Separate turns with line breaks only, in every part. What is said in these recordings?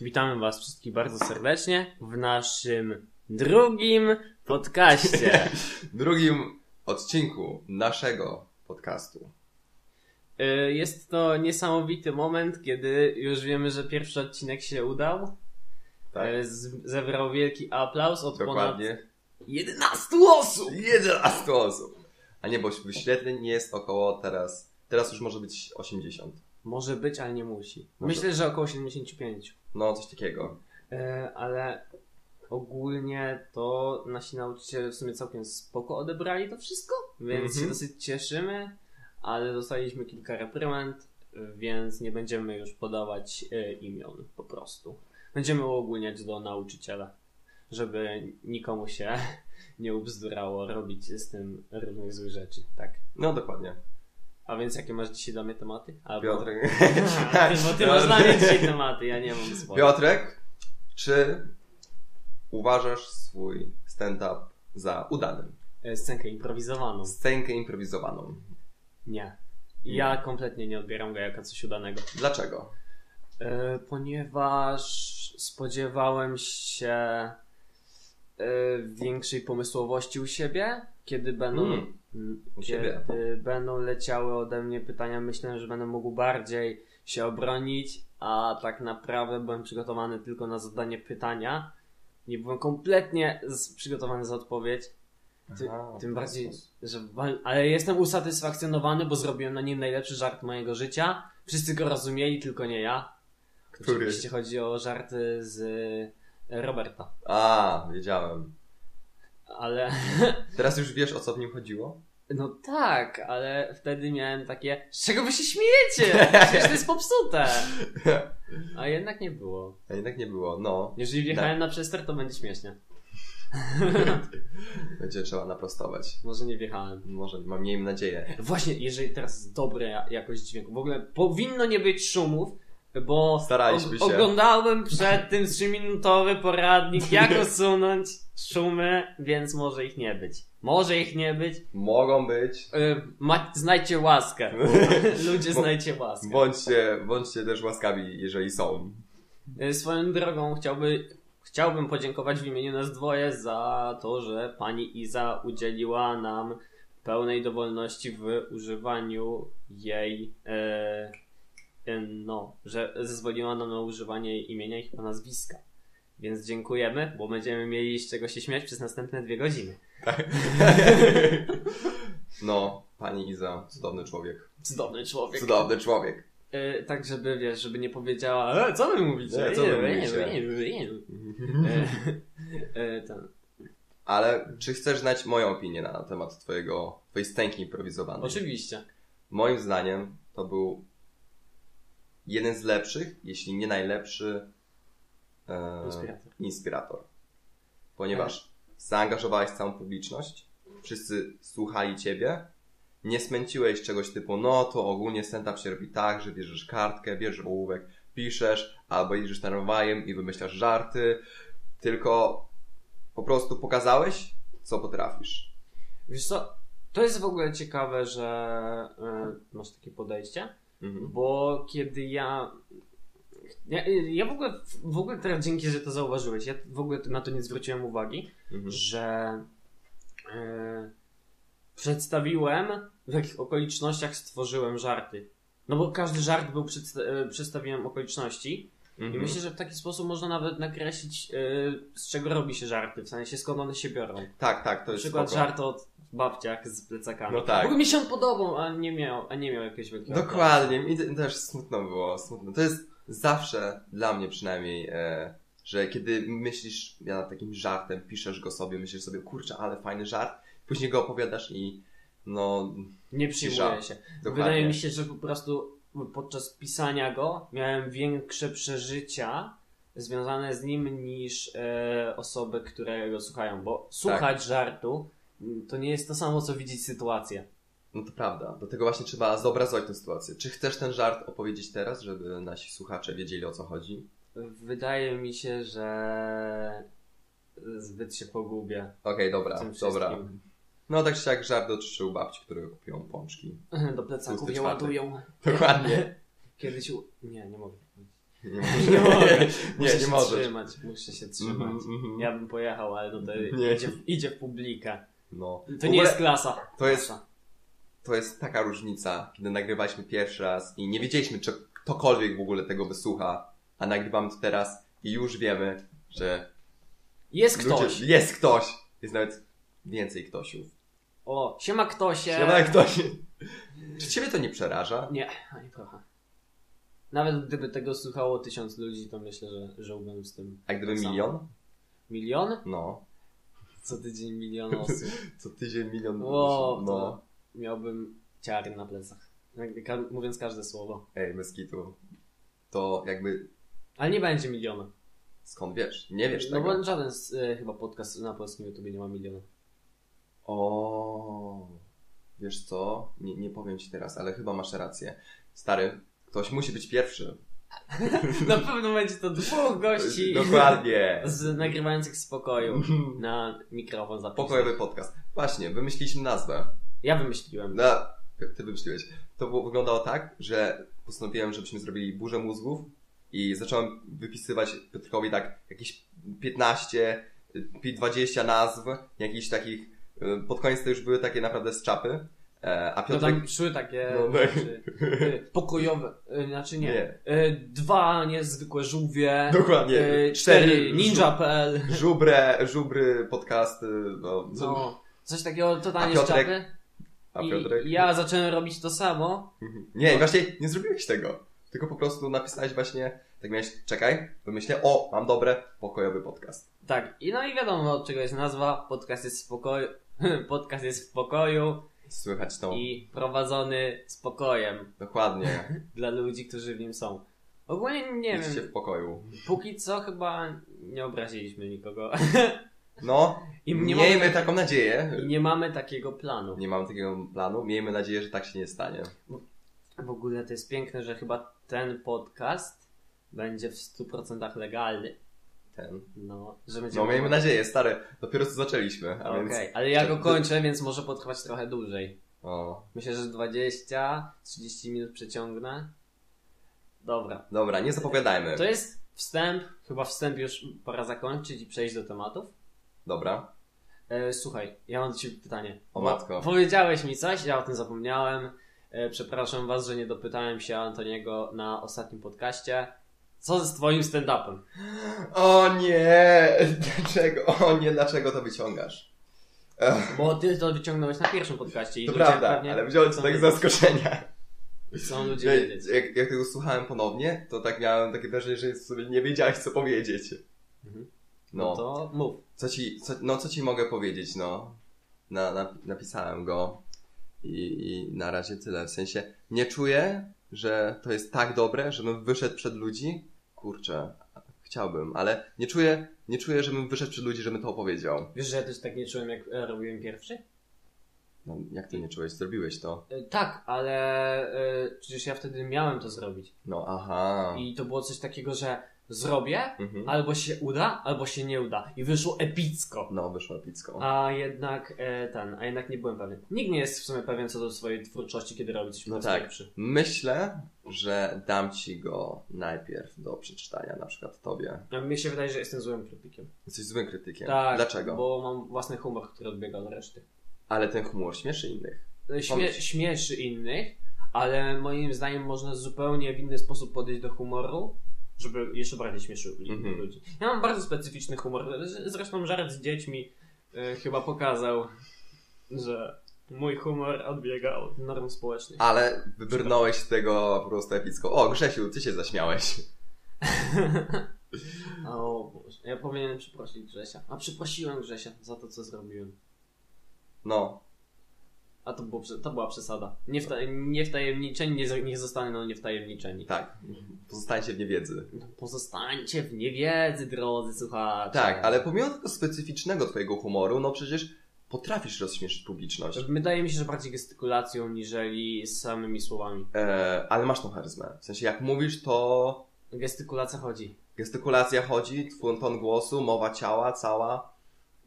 Witamy Was wszystkich bardzo serdecznie w naszym drugim podcaście.
drugim odcinku naszego podcastu.
Y, Jest to niesamowity moment, kiedy już wiemy, że pierwszy odcinek się udał.
Tak.
Y, z- Zebrał wielki aplauz od ponad
Dokładnie.
11 osób!
11 osób. A nie, bo wyświetleń jest około teraz, teraz już może być 80.
Może być, ale nie musi.
Może.
Myślę, że około 75.
No, coś takiego.
E, ale ogólnie to nasi nauczyciele w sumie całkiem spoko odebrali to wszystko, więc
Mhm.
się dosyć cieszymy, ale dostaliśmy kilka reprymand, więc nie będziemy już podawać e, imion po prostu. Będziemy uogólniać do nauczyciela, żeby nikomu się nie ubzdurało robić z tym różnych złych rzeczy, tak.
No, dokładnie.
A więc jakie masz dzisiaj dla mnie tematy? Albo...
Piotr.
A, ty, bo ty masz dla mnie dzisiaj tematy, ja nie mam swoich.
Piotrek, czy uważasz swój stand-up za udany?
E, Scenkę improwizowaną.
Scenkę improwizowaną.
Nie. Ja kompletnie nie odbieram go jako coś udanego.
Dlaczego?
E, ponieważ spodziewałem się e, większej pomysłowości u siebie, kiedy będą.
Mm,
m,
u
kiedy
siebie.
będą leciały ode mnie pytania, myślę, że będę mógł bardziej się obronić, a tak naprawdę byłem przygotowany tylko na zadanie pytania. Nie byłem kompletnie z- przygotowany za odpowiedź. Ty-
Aha,
Tym
w ten
bardziej,
sposób.
że. wal- Ale jestem usatysfakcjonowany, bo zrobiłem na nim najlepszy żart mojego życia. Wszyscy go rozumieli, tylko nie ja.
Który?
Oczywiście chodzi o żarty z e, Roberta.
A, wiedziałem.
Ale.
Teraz już wiesz, o co w nim chodziło?
No tak, ale wtedy miałem takie. Z czego wy się śmiejecie? Przecież to jest popsute! A jednak nie było.
A jednak nie było. No,
Jeżeli wjechałem na przester, to będzie śmiesznie.
Będzie trzeba naprostować.
Może nie wjechałem.
Może, mam, miejmy nadzieję.
Właśnie, jeżeli teraz jest dobra ja- jakość dźwięku, w ogóle powinno nie być szumów, bo
Staraliśmy się.
oglądałem przed tym 3-minutowy poradnik, jak usunąć szumy, więc może ich nie być. Może ich nie być.
Mogą być.
Yy, ma- znajdźcie łaskę. Ludzie,
Bo-
znajdźcie łaskę.
Bądźcie, bądźcie też łaskawi, jeżeli są.
Yy, swoją drogą chciałby, chciałbym podziękować w imieniu nas dwoje za to, że pani Iza udzieliła nam pełnej dowolności w używaniu jej. E, e, no, że zezwoliła nam na używanie jej imienia i chyba nazwiska. Więc dziękujemy, bo będziemy mieli z czego się śmiać przez następne dwie godziny.
No, pani Iza, cudowny człowiek.
Cudowny człowiek.
Cudowny człowiek.
E, tak, żeby wiesz, żeby nie powiedziała, e, co wy mówicie?
Nie, co wy
E,
mówicie?
e, e, e, e, ten.
Ale czy chcesz znać moją opinię na temat twojego, twojej stęki improwizowanej?
Oczywiście.
Moim zdaniem to był jeden z lepszych, jeśli nie najlepszy e,
Inspirator.
inspirator. Ponieważ zaangażowałeś całą publiczność, wszyscy słuchali ciebie, nie smęciłeś czegoś typu, no to ogólnie stand-up się robi tak, że bierzesz kartkę, bierzesz ołówek, piszesz, albo jedziesz tramwajem i wymyślasz żarty, tylko po prostu pokazałeś, co potrafisz.
Wiesz co, to jest w ogóle ciekawe, że y, masz takie podejście,
Mhm.
bo kiedy ja. Ja, ja w, ogóle, w ogóle teraz dzięki, że to zauważyłeś. Ja w ogóle na to nie zwróciłem uwagi,
Mhm.
że y, przedstawiłem, w jakich okolicznościach stworzyłem żarty. No bo każdy żart był przedsta- y, przedstawiłem okoliczności. I
Mhm.
myślę, że w taki sposób można nawet nakreślić, y, z czego robi się żarty, w sensie skąd one się biorą.
Tak, tak, to
Na
jest
przykład
spoko.
żart od babciak z plecakami.
No tak.
W ogóle mi się on podobał, a nie miał, a nie miał jakiegoś wielkiego.
Dokładnie, mi te- też smutno było, smutno. To jest zawsze, dla mnie przynajmniej, e, że kiedy myślisz ja nad takim żartem, piszesz go sobie, myślisz sobie, kurczę, ale fajny żart, później go opowiadasz i no,
Nie przyjmuje
Cisza.
się.
dokładnie.
Wydaje mi się, że po prostu podczas pisania go miałem większe przeżycia związane z nim niż e, osoby, które go słuchają,
Tak.
bo słuchać żartu mm, to nie jest to samo, co widzieć sytuację.
No to prawda, do tego właśnie trzeba zobrazować tę sytuację. Czy chcesz ten żart opowiedzieć teraz, żeby nasi słuchacze wiedzieli o co chodzi?
Wydaje mi się, że zbyt się pogubię.
Okej,
w
dobra,
tym
dobra.
wszystkim.
No tak czy jak żart dotyczył babci, które kupią pączki.
Do plecaków je
24.
ładują.
Dokładnie.
Kiedyś. u- Nie, nie mogę. tak powiedzieć.
Nie
Nie mogę.
mogę.
Muszę
nie, nie
się
możesz.
trzymać, muszę się trzymać.
Mhm, mhm.
Ja bym pojechał, ale tutaj
Nie.
idzie, idzie w publikę.
No. W
To
ogóle
nie jest klasa.
to jest-
Klasa.
to jest taka różnica, kiedy nagrywaliśmy pierwszy raz i nie wiedzieliśmy, czy ktokolwiek w ogóle tego wysłucha, a nagrywamy to teraz i już wiemy, że
Jest ktoś.
ludzie- jest ktoś. Jest nawet więcej ktośów.
O, siema ktosie.
Siema ktoś. Czy ciebie to nie przeraża?
Nie, ani trochę. Nawet gdyby tego słuchało tysiąc ludzi, to myślę, że żyłbym z tym.
A gdyby
tak samo.
milion?
Milion?
No.
Co tydzień milion osób.
Co tydzień milion.
Wow,
no.
to miałbym ciary na plecach. Jakby ka- Mówiąc każde słowo.
Ej, Meskitu. To jakby
Ale nie będzie miliona.
skąd wiesz? Nie wiesz
no
tego.
bo żaden z, y, chyba podcast na polskim YouTubie nie ma miliona.
O, wiesz co? Nie, nie powiem ci teraz, ale chyba masz rację. Stary, ktoś musi być pierwszy.
Na pewno będzie to dwóch gości
Dokładnie.
z nagrywających z pokoju na mikrofon za
Pokojowy podcast. Właśnie, wymyśliliśmy nazwę.
Ja wymyśliłem.
No, ty wymyśliłeś. To było, wyglądało tak, że postanowiłem, żebyśmy zrobili burzę mózgów i zacząłem wypisywać Piotrkowi tak jakieś 15, y, 20 nazw, jakichś takich, y, pod koniec to już były takie naprawdę z czapy, E, a
No
Piotrek...
tam szły takie
No, tak.
rzeczy. Y, Pokojowe, y, znaczy nie.
Nie.
Y, Dwa niezwykłe żółwie.
Dokładnie.
y,
Cztery
Cztery
żu-
ninja.pl.
Żubre, żubry, podcasty, no,
No, coś takiego totalnie
A
z
Piotrek?
czapy.
a
I-
Piotrek...
I ja zacząłem robić to samo.
Mhm. Nie,
No.
właśnie nie zrobiłeś tego. Tylko po prostu napisałeś właśnie, tak miałeś, czekaj, wymyślę, o, mam dobre, pokojowy podcast.
Tak, i no i wiadomo od czego jest nazwa. Podcast jest w pokoju. Podcast jest w pokoju
Słychać tą,
i prowadzony z pokojem
dokładnie,
dla ludzi, którzy w nim są. Ogólnie nie
idźcie
wiem,
w pokoju.
póki co chyba nie obraziliśmy nikogo.
No,
I nie,
miejmy
mamy,
taką nadzieję.
i nie mamy takiego planu.
Nie mam takiego planu, miejmy nadzieję, że tak się nie stanie.
W ogóle to jest piękne, że chyba ten podcast będzie w 100% legalny.
Ten.
No, że będzie.
No, miejmy nadzieję, stary, dopiero co zaczęliśmy, a
Okej,
więc...
ale ja go kończę, więc może potrwać trochę dłużej.
O,
Myślę, że 20, 30 minut przeciągnę. Dobra.
dobra, nie zapowiadajmy.
To jest wstęp. Chyba wstęp już pora zakończyć i przejść do tematów.
Dobra,
E, słuchaj, ja mam do Ciebie pytanie.
O
Bo
matko.
Powiedziałeś mi coś, ja o tym zapomniałem. E, przepraszam Was, że nie dopytałem się Antoniego na ostatnim podcaście. Co z Twoim stand-upem?
O nie! Dlaczego? O nie, dlaczego to wyciągasz? Ech,
Bo Ty to wyciągnąłeś na pierwszym podcaście i
to
ludzie
prawda,
pewnie
ale wziąłem cię
chcą
tak z
wiedzieć-
zaskoczenia.
Chcą ludzie
Ja,
wiedzieć.
jak, jak tego słuchałem ponownie, to tak miałem takie wrażenie, że sobie nie wiedziałeś, co powiedzieć.
Mhm. No
No,
to mów.
co ci, co, no co ci mogę powiedzieć, no. Na, na, napisałem go i, i na razie tyle. W sensie nie czuję, że to jest tak dobre, żebym wyszedł przed ludzi. Kurczę, chciałbym, ale nie czuję, nie czuję, żebym wyszedł przed ludzi, żebym to opowiedział.
Wiesz, że ja też tak nie czułem, jak e, robiłem pierwszy?
No, jak ty nie czułeś? Zrobiłeś to.
E, Tak, ale e, przecież ja wtedy miałem to zrobić.
No, aha.
I to było coś takiego, że zrobię,
Mhm.
albo się uda, albo się nie uda. I wyszło epicko.
No, wyszło epicko.
A jednak e, ten, a jednak nie byłem pewien. Nikt nie jest w sumie pewien co do swojej twórczości, kiedy robi coś po
No
prostu
tak.
lepszy.
Myślę, że dam ci go najpierw do przeczytania, na przykład tobie.
A mnie się wydaje, że jestem złym krytykiem.
Jesteś złym krytykiem.
Tak.
Dlaczego?
Bo mam własny humor, który odbiega od reszty.
Ale ten humor śmieszy innych.
E, Śmie-
Pomyśl.
śmieszy innych, ale moim zdaniem można zupełnie w inny sposób podejść do humoru, żeby jeszcze bardziej śmieszył li-
Mhm.
ludzi. Ja mam bardzo specyficzny humor. Z- Zresztą żart z dziećmi e, chyba pokazał, że mój humor odbiega od norm społecznych.
Ale wybrnąłeś z tego po prostu epicko. O, Grzesiu, ty się zaśmiałeś.
o Boże, ja powinienem przeprosić Grzesia. A przeprosiłem Grzesia za to, co zrobiłem.
No,
A to, było, prze- to była przesada. Nie, wta- nie wtajemniczeni, nie, z- nie zostaną niewtajemniczeni. No
tak. Pozostańcie w niewiedzy.
Pozostańcie w niewiedzy, drodzy słuchacze.
Tak, ale pomimo tego specyficznego twojego humoru, no przecież potrafisz rozśmieszyć publiczność.
Wydaje mi się, że bardziej gestykulacją niżeli samymi słowami.
E, ale masz tą charyzmę. W sensie, jak mówisz, to
Gestykulacja chodzi.
gestykulacja chodzi, twój ton głosu, mowa ciała cała.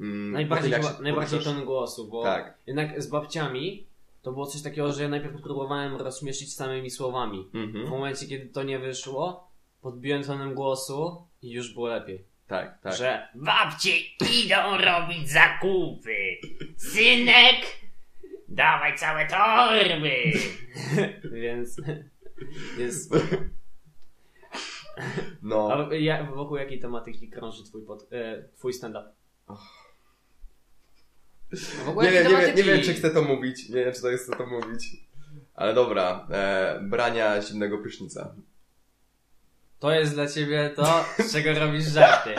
Mm,
Najbardziej,
po tym, jak
chyba-
się
najbardziej
poruszasz.
ton głosu, bo
Tak.
jednak z babciami to było coś takiego, że ja najpierw próbowałem rozśmieszyć samymi słowami. W
Mhm.
momencie, kiedy to nie wyszło, podbiłem tonem głosu i już było lepiej.
Tak, tak.
Że
Babcie idą robić zakupy. Synek, dawaj całe torby.
Więc jest.
No.
A ja, wokół jakiej tematyki krąży twój, pod, e, twój stand-up? Wokół
Nie
jakiej
wiem, nie wiem,
tematyki?
nie wiem, czy chcę to mówić. Nie wiem, czy to jest chcę to mówić. Ale dobra, e, brania zimnego prysznica.
To jest dla ciebie to, z czego robisz żarty.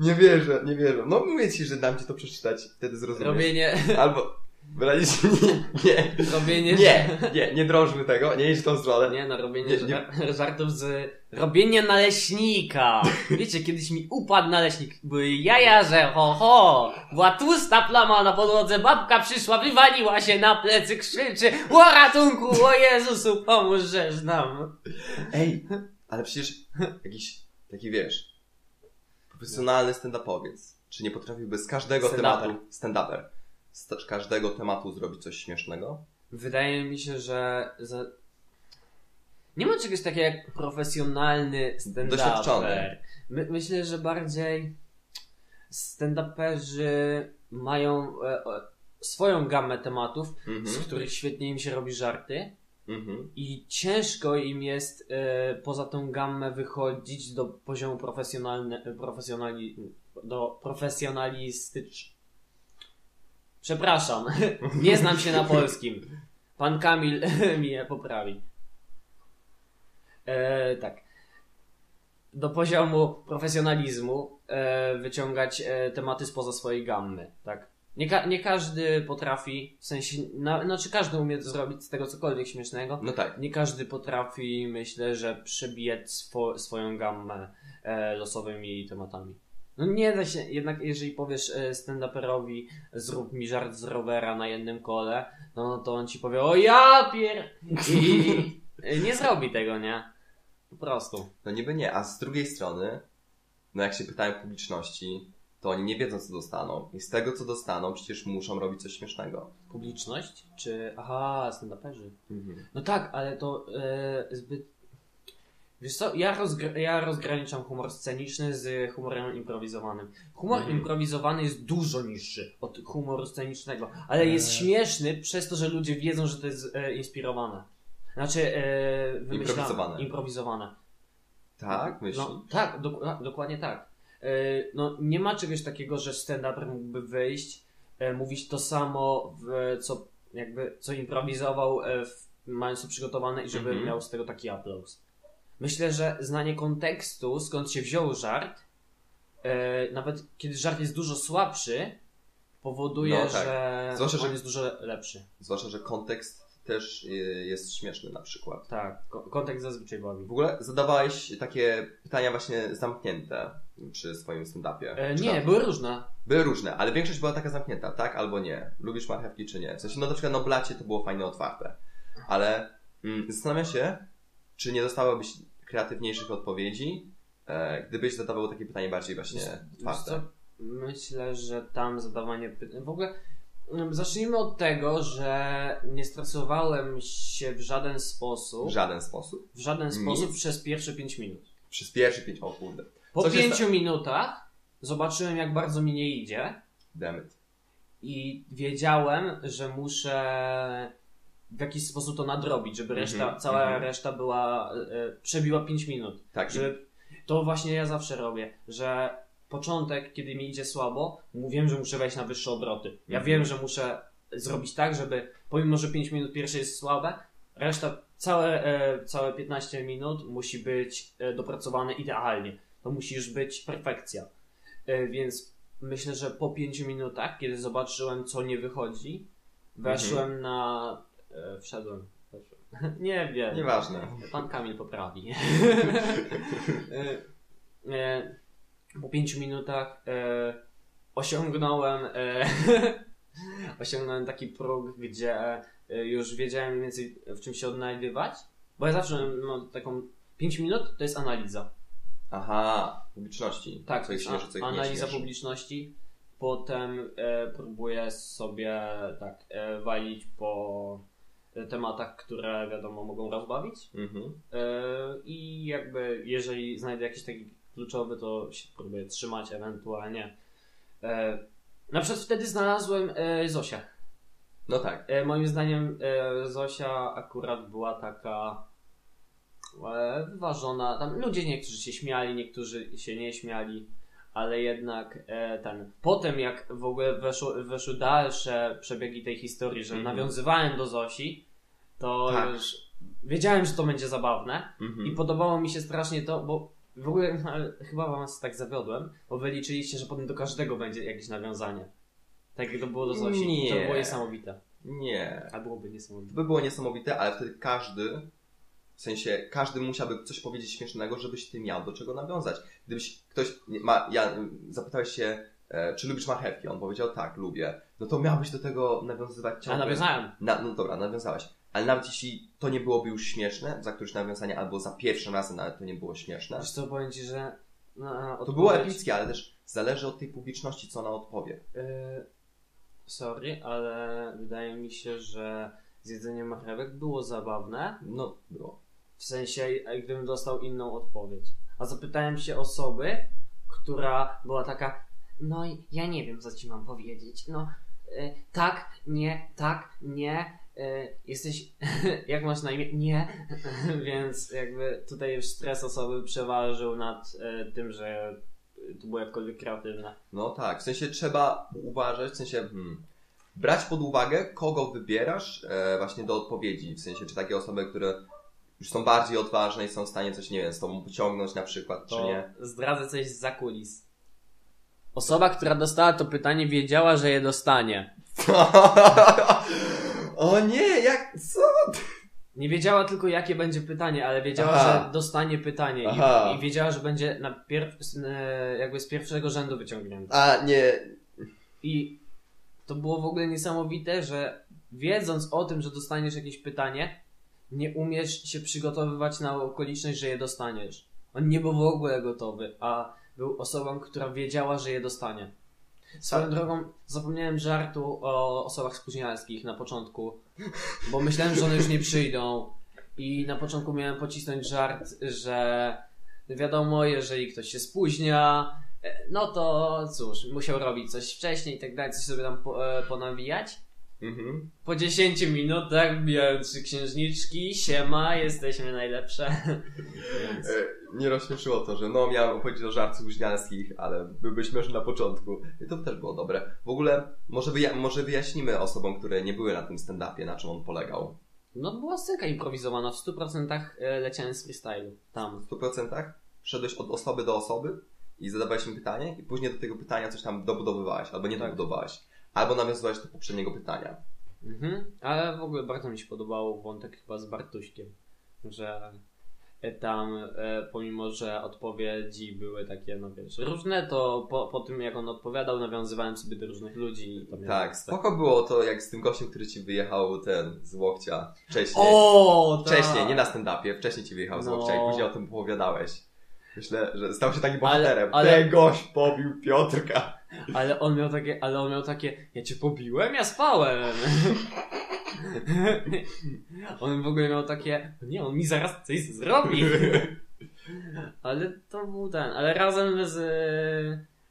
Nie wierzę, nie wierzę. No mówię ci, że dam ci to przeczytać, wtedy zrozumiesz.
Robienie.
Albo branie się... Nie,
Robienie.
nie, nie, nie, nie drążmy tego, nie idź w tą stronę.
Nie no, robienie
Nie, nie.
żar- żartów z... Robienie naleśnika! Wiecie, kiedyś mi upadł naleśnik. Były jaja, że ho ho! Była tłusta plama na podłodze, babka przyszła, wywaliła się na plecy, krzyczy O ratunku, o Jezusu, pomóżesz nam!
Ej, ale przecież jakiś taki wiesz, profesjonalny stand-upowiec, czy nie potrafiłby z każdego
Stand-uper.
tematu, stand-uper, z t- każdego tematu zrobić coś śmiesznego?
Wydaje mi się, że... Za... Nie ma czegoś takiego jak profesjonalny stand
Doświadczony.
My, myślę, że bardziej stand-uperzy mają e, e, swoją gamę tematów,
Mhm.
z których świetnie im się robi żarty
Mhm.
i ciężko im jest e, poza tą gamę wychodzić do poziomu profesjonalne, e, profesjonali, do profesjonalistycz. Przepraszam, nie znam się na polskim. Pan Kamil mnie poprawi. E, tak. Do poziomu profesjonalizmu e, wyciągać e, tematy spoza swojej gammy, tak? Nie, ka- nie każdy potrafi, w sensie, na, znaczy każdy umie zrobić z tego cokolwiek śmiesznego,
No tak.
nie każdy potrafi, myślę, że przebijać swo- swoją gammę e, losowymi tematami. No nie da się, jednak jeżeli powiesz e, stand-uperowi zrób mi żart z rowera na jednym kole, no to on ci powie o ja pier... I e, nie zrobi tego, nie? Po prostu.
No niby nie, a z drugiej strony, no jak się pytają publiczności, to oni nie wiedzą, co dostaną. I z tego, co dostaną, przecież muszą robić coś śmiesznego.
Publiczność? Czy... Aha, stand-uperzy. No tak, ale to e, zbyt... Wiesz co, ja, rozgr- ja rozgraniczam humor sceniczny z humorem improwizowanym. Humor
Mhm.
improwizowany jest dużo niższy od humoru scenicznego, ale jest
Eee.
śmieszny przez to, że ludzie wiedzą, że to jest e, inspirowane. Znaczy, e, wymyślane.
Improwizowane.
Improwizowane.
Tak, myślisz?
No, tak, dok- a, dokładnie tak. E, no, nie ma czegoś takiego, że stand-up mógłby wyjść, e, mówić to samo, w, co jakby, co improwizował, e, w, mając to przygotowane i żeby
Mhm.
miał z tego taki aplauz. Myślę, że znanie kontekstu, skąd się wziął żart, e, nawet kiedy żart jest dużo słabszy, powoduje,
No tak.
że
Zwłaszcza,
on
że-
jest dużo lepszy.
Zwłaszcza, że kontekst też y, jest śmieszny na przykład.
Tak, ko- kontekst zazwyczaj bawi.
W ogóle zadawałeś takie pytania właśnie zamknięte przy swoim stand-upie.
E,
Czy
nie,
tam-
były różne.
Były różne, ale większość była taka zamknięta, tak albo nie. Lubisz marchewki czy nie. W sensie, no na przykład na blacie to było fajne otwarte. Ale mm, zastanawiam się, czy nie dostałabyś kreatywniejszych odpowiedzi, e, gdybyś zadawał takie pytanie bardziej właśnie
Wiesz co?
otwarte.
Myślę, że tam zadawanie pytań. W ogóle mm, zacznijmy od tego, że nie stresowałem się w żaden sposób.
W żaden sposób.
w żaden
Nic.
sposób przez pierwsze 5 minut.
Przez pierwsze pięć, o kurde,
Po
Co się
5 minutach zobaczyłem, jak bardzo mi nie idzie,
damn it.
i wiedziałem, że muszę w jakiś sposób to nadrobić, żeby
Mhm,
reszta, cała
mhm.
reszta była, e, e, przebiła 5 minut.
Tak, że...
Że to właśnie ja zawsze robię, że początek, kiedy mi idzie słabo, mówię, że muszę wejść na wyższe obroty. Ja
Mhm.
wiem, że muszę zrobić tak, żeby pomimo, że 5 minut pierwsze jest słabe, reszta, całe, e, całe 15 minut musi być e, dopracowane idealnie. To musi już być perfekcja. E, więc myślę, że po 5 minutach, kiedy zobaczyłem, co nie wychodzi, weszłem
Mhm.
na... E, wszedłem. Weszłem. nie wiem.
nieważne.
Pan Kamil poprawi. E, e, po pięciu minutach e, osiągnąłem e, osiągnąłem taki próg, gdzie e, już wiedziałem mniej więcej w czym się odnajdywać, bo ja zawsze mam taką 5 minut to jest analiza.
Aha, publiczności.
Tak,
co ich śmieszy, co ich nie
analiza
śmieszy.
publiczności. Potem e, próbuję sobie tak e, walić po e, tematach, które wiadomo mogą rozbawić.
Mhm.
E, I jakby jeżeli znajdę jakiś taki kluczowy, to się próbuję trzymać ewentualnie. E, Na przykład wtedy znalazłem e, Zosię.
No tak.
E, Moim zdaniem e, Zosia akurat była taka e, wyważona. Tam ludzie niektórzy się śmiali, niektórzy się nie śmiali, ale jednak e, ten. Potem jak w ogóle weszło, weszły dalsze przebiegi tej historii, że
Mhm.
nawiązywałem do Zosi, to
Tak.
już wiedziałem, że to będzie zabawne.
Mhm.
I podobało mi się strasznie to, bo w ogóle ale chyba was tak zawiodłem, bo wy liczyliście, że potem do każdego będzie jakieś nawiązanie. Tak jak to było do Zosi. To
Nie.
było niesamowite.
Nie.
A byłoby
To
niesamowite.
by było niesamowite, ale wtedy każdy, w sensie każdy musiałby coś powiedzieć śmiesznego, żebyś ty miał do czego nawiązać. Gdybyś ktoś, nie- ma, ja, y, zapytałeś się, e, czy lubisz marchewki? On powiedział, tak, lubię. No to miałbyś do tego nawiązywać
A
ciągle.
nawiązałem.
Na, no dobra, nawiązałaś. Ale nawet jeśli to nie byłoby już śmieszne, za któreś nawiązanie, albo za pierwszym razem nawet to nie było śmieszne,
Wiesz co, powiem ci, że... No,
to było epickie, ale też zależy od tej publiczności, co ona odpowie.
Y, sorry, ale wydaje mi się, że zjedzenie marchewek było zabawne,
No, było.
w sensie e, gdybym dostał inną odpowiedź. A zapytałem się osoby, która była taka, no i ja nie wiem, co ci mam powiedzieć, no y, tak, nie, tak, nie, y, jesteś, jak masz na imię? Nie, więc jakby tutaj już stres osoby przeważył nad y, tym, że y, to było jakkolwiek kreatywne.
No tak, w sensie trzeba uważać, w sensie hmm, brać pod uwagę, kogo wybierasz e, właśnie do odpowiedzi. W sensie, czy takie osoby, które już są bardziej odważne i są w stanie coś, nie wiem, z tobą pociągnąć na przykład, czy
To
nie.
zdradzę coś z zakulis. Osoba, która dostała to pytanie, wiedziała, że je dostanie.
o nie, jak, co?
Nie wiedziała tylko, jakie będzie pytanie, ale wiedziała,
Aha.
że dostanie pytanie.
Aha.
I, I wiedziała, że będzie na pier... z- e, jakby z pierwszego rzędu wyciągnięte.
A nie,
I to było w ogóle niesamowite, że wiedząc o tym, że dostaniesz jakieś pytanie, nie umiesz się przygotowywać na okoliczność, że je dostaniesz. On nie był w ogóle gotowy, a był osobą, która wiedziała, że je dostanie. Swoją
Tak.
drogą zapomniałem żartu o osobach spóźnialskich na początku, bo myślałem, że one już nie przyjdą. I na początku miałem pocisnąć żart, że wiadomo, jeżeli ktoś się spóźnia, e, no to cóż, musiał robić coś wcześniej i tak dalej, coś sobie tam po, e, ponawijać.
mhm.
Po 10 minutach wbijałem trzy księżniczki, siema, jesteśmy najlepsze. Więc...
E, Nie rozśmieszyło to, że no miałem opowiedzieć o żarcach guźniańskich, ale byłby śmieszny na początku. I to też było dobre. W ogóle może, wyja- może wyjaśnimy osobom, które nie były na tym stand-upie, na czym on polegał.
No była scenka improwizowana, w 100% e, leciałem z freestylu, tam.
W 100% szedłeś od osoby do osoby i zadawałeś im pytanie i później do tego pytania coś tam dobudowywałeś albo nie
Tak.
dobudowałeś. Albo nawiązywałeś do poprzedniego pytania.
Mhm. Ale w ogóle bardzo mi się podobał wątek chyba z Bartuśkiem, że e, tam e, pomimo, że odpowiedzi były takie, no wiesz, różne, to po, po tym jak on odpowiadał, nawiązywałem sobie do różnych ludzi. i to miałem
Tak, spoko było to jak z tym gościem, który ci wyjechał ten z łokcia wcześniej.
O, tak.
Wcześniej, nie na stand-upie, wcześniej ci wyjechał z
No.
łokcia i później o tym opowiadałeś. Myślę, że stał się takim
Ale-
bohaterem.
ale-
Ten gość pobił Piotrka.
Ale on miał takie, ale on miał takie, ja cię pobiłem, ja spałem. on w ogóle miał takie, nie, on mi zaraz coś zrobi. ale to był ten, ale razem z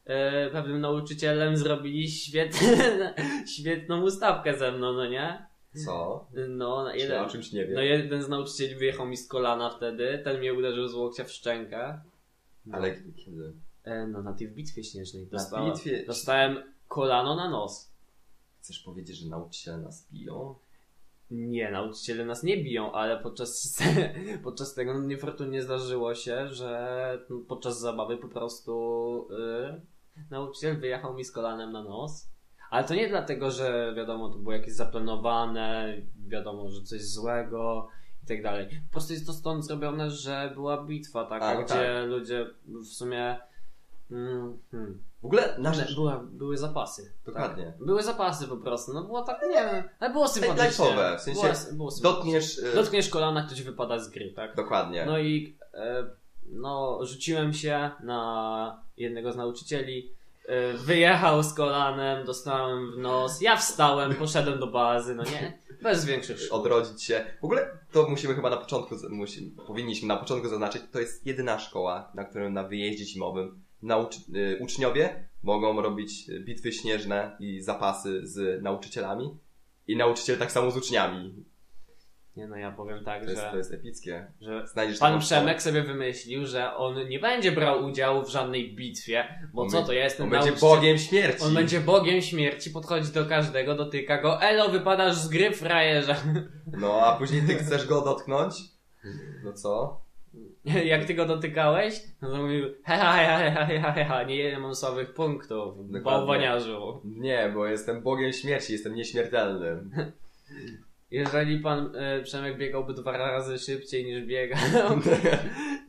e, pewnym nauczycielem zrobili świetne, świetną ustawkę ze mną, no nie?
Co?
No, na
Czy ja
jeden,
o czymś nie wiem.
no jeden z nauczycieli wyjechał mi z kolana wtedy, ten mnie uderzył z łokcia w szczękę. No.
Ale kiedy?
E, no, na tej bitwie śnieżnej
Na
dostałem,
bitwie.
dostałem kolano na nos.
Chcesz powiedzieć, że nauczyciele nas biją?
Nie, nauczyciele nas nie biją, ale podczas, podczas tego no, niefortunnie zdarzyło się, że no, podczas zabawy po prostu y, nauczyciel wyjechał mi z kolanem na nos. Ale to nie dlatego, że wiadomo, to było jakieś zaplanowane, wiadomo, że coś złego i tak dalej. Po prostu jest to stąd zrobione, że była bitwa taka,
A, no
gdzie
tak.
ludzie w sumie. Mm, hmm,
W ogóle na rzecz.
była, były zapasy.
Dokładnie.
Tak. Były zapasy po prostu. No było tak, nie wiem. Ale było sympatycznie.
lajtowe, w sensie
Było- było sympatycznie.
Dotkniesz. y,
Dotkniesz kolana, ktoś wypada z gry, tak?
Dokładnie.
No i e, no, rzuciłem się na jednego z nauczycieli. e, Wyjechał z kolanem, dostałem w nos. Ja wstałem, poszedłem do bazy, no nie? Bez większych szkód.
odrodzić się. W ogóle to musimy chyba na początku, z- musi, powinniśmy na początku zaznaczyć, to jest jedyna szkoła, na którą na wyjeździe zimowym nauczy, y, uczniowie mogą robić y, bitwy śnieżne i zapasy z nauczycielami i nauczyciel tak samo z uczniami.
Nie no, ja powiem tak,
To jest, to
że,
jest epickie.
że
Znajdziesz
pan
taką szkołę.
Przemek sobie wymyślił, że on nie będzie brał udziału w żadnej bitwie, bo
On
co
będzie-
to ja jestem
On będzie
nauczyciel-
bogiem śmierci.
On będzie bogiem śmierci, podchodzi do każdego, dotyka go. Elo, wypadasz z gry frajerza.
No, a później ty chcesz go dotknąć? No co?
Jak ty go dotykałeś, no to mówił he ha, he ha, he ha, he ha, he ha, nie mam słabych punktów,
Dokładnie.
bałwaniarzu.
Nie, bo jestem bogiem śmierci, jestem nieśmiertelnym.
Jeżeli pan e, Przemek biegałby dwa razy szybciej niż biegał,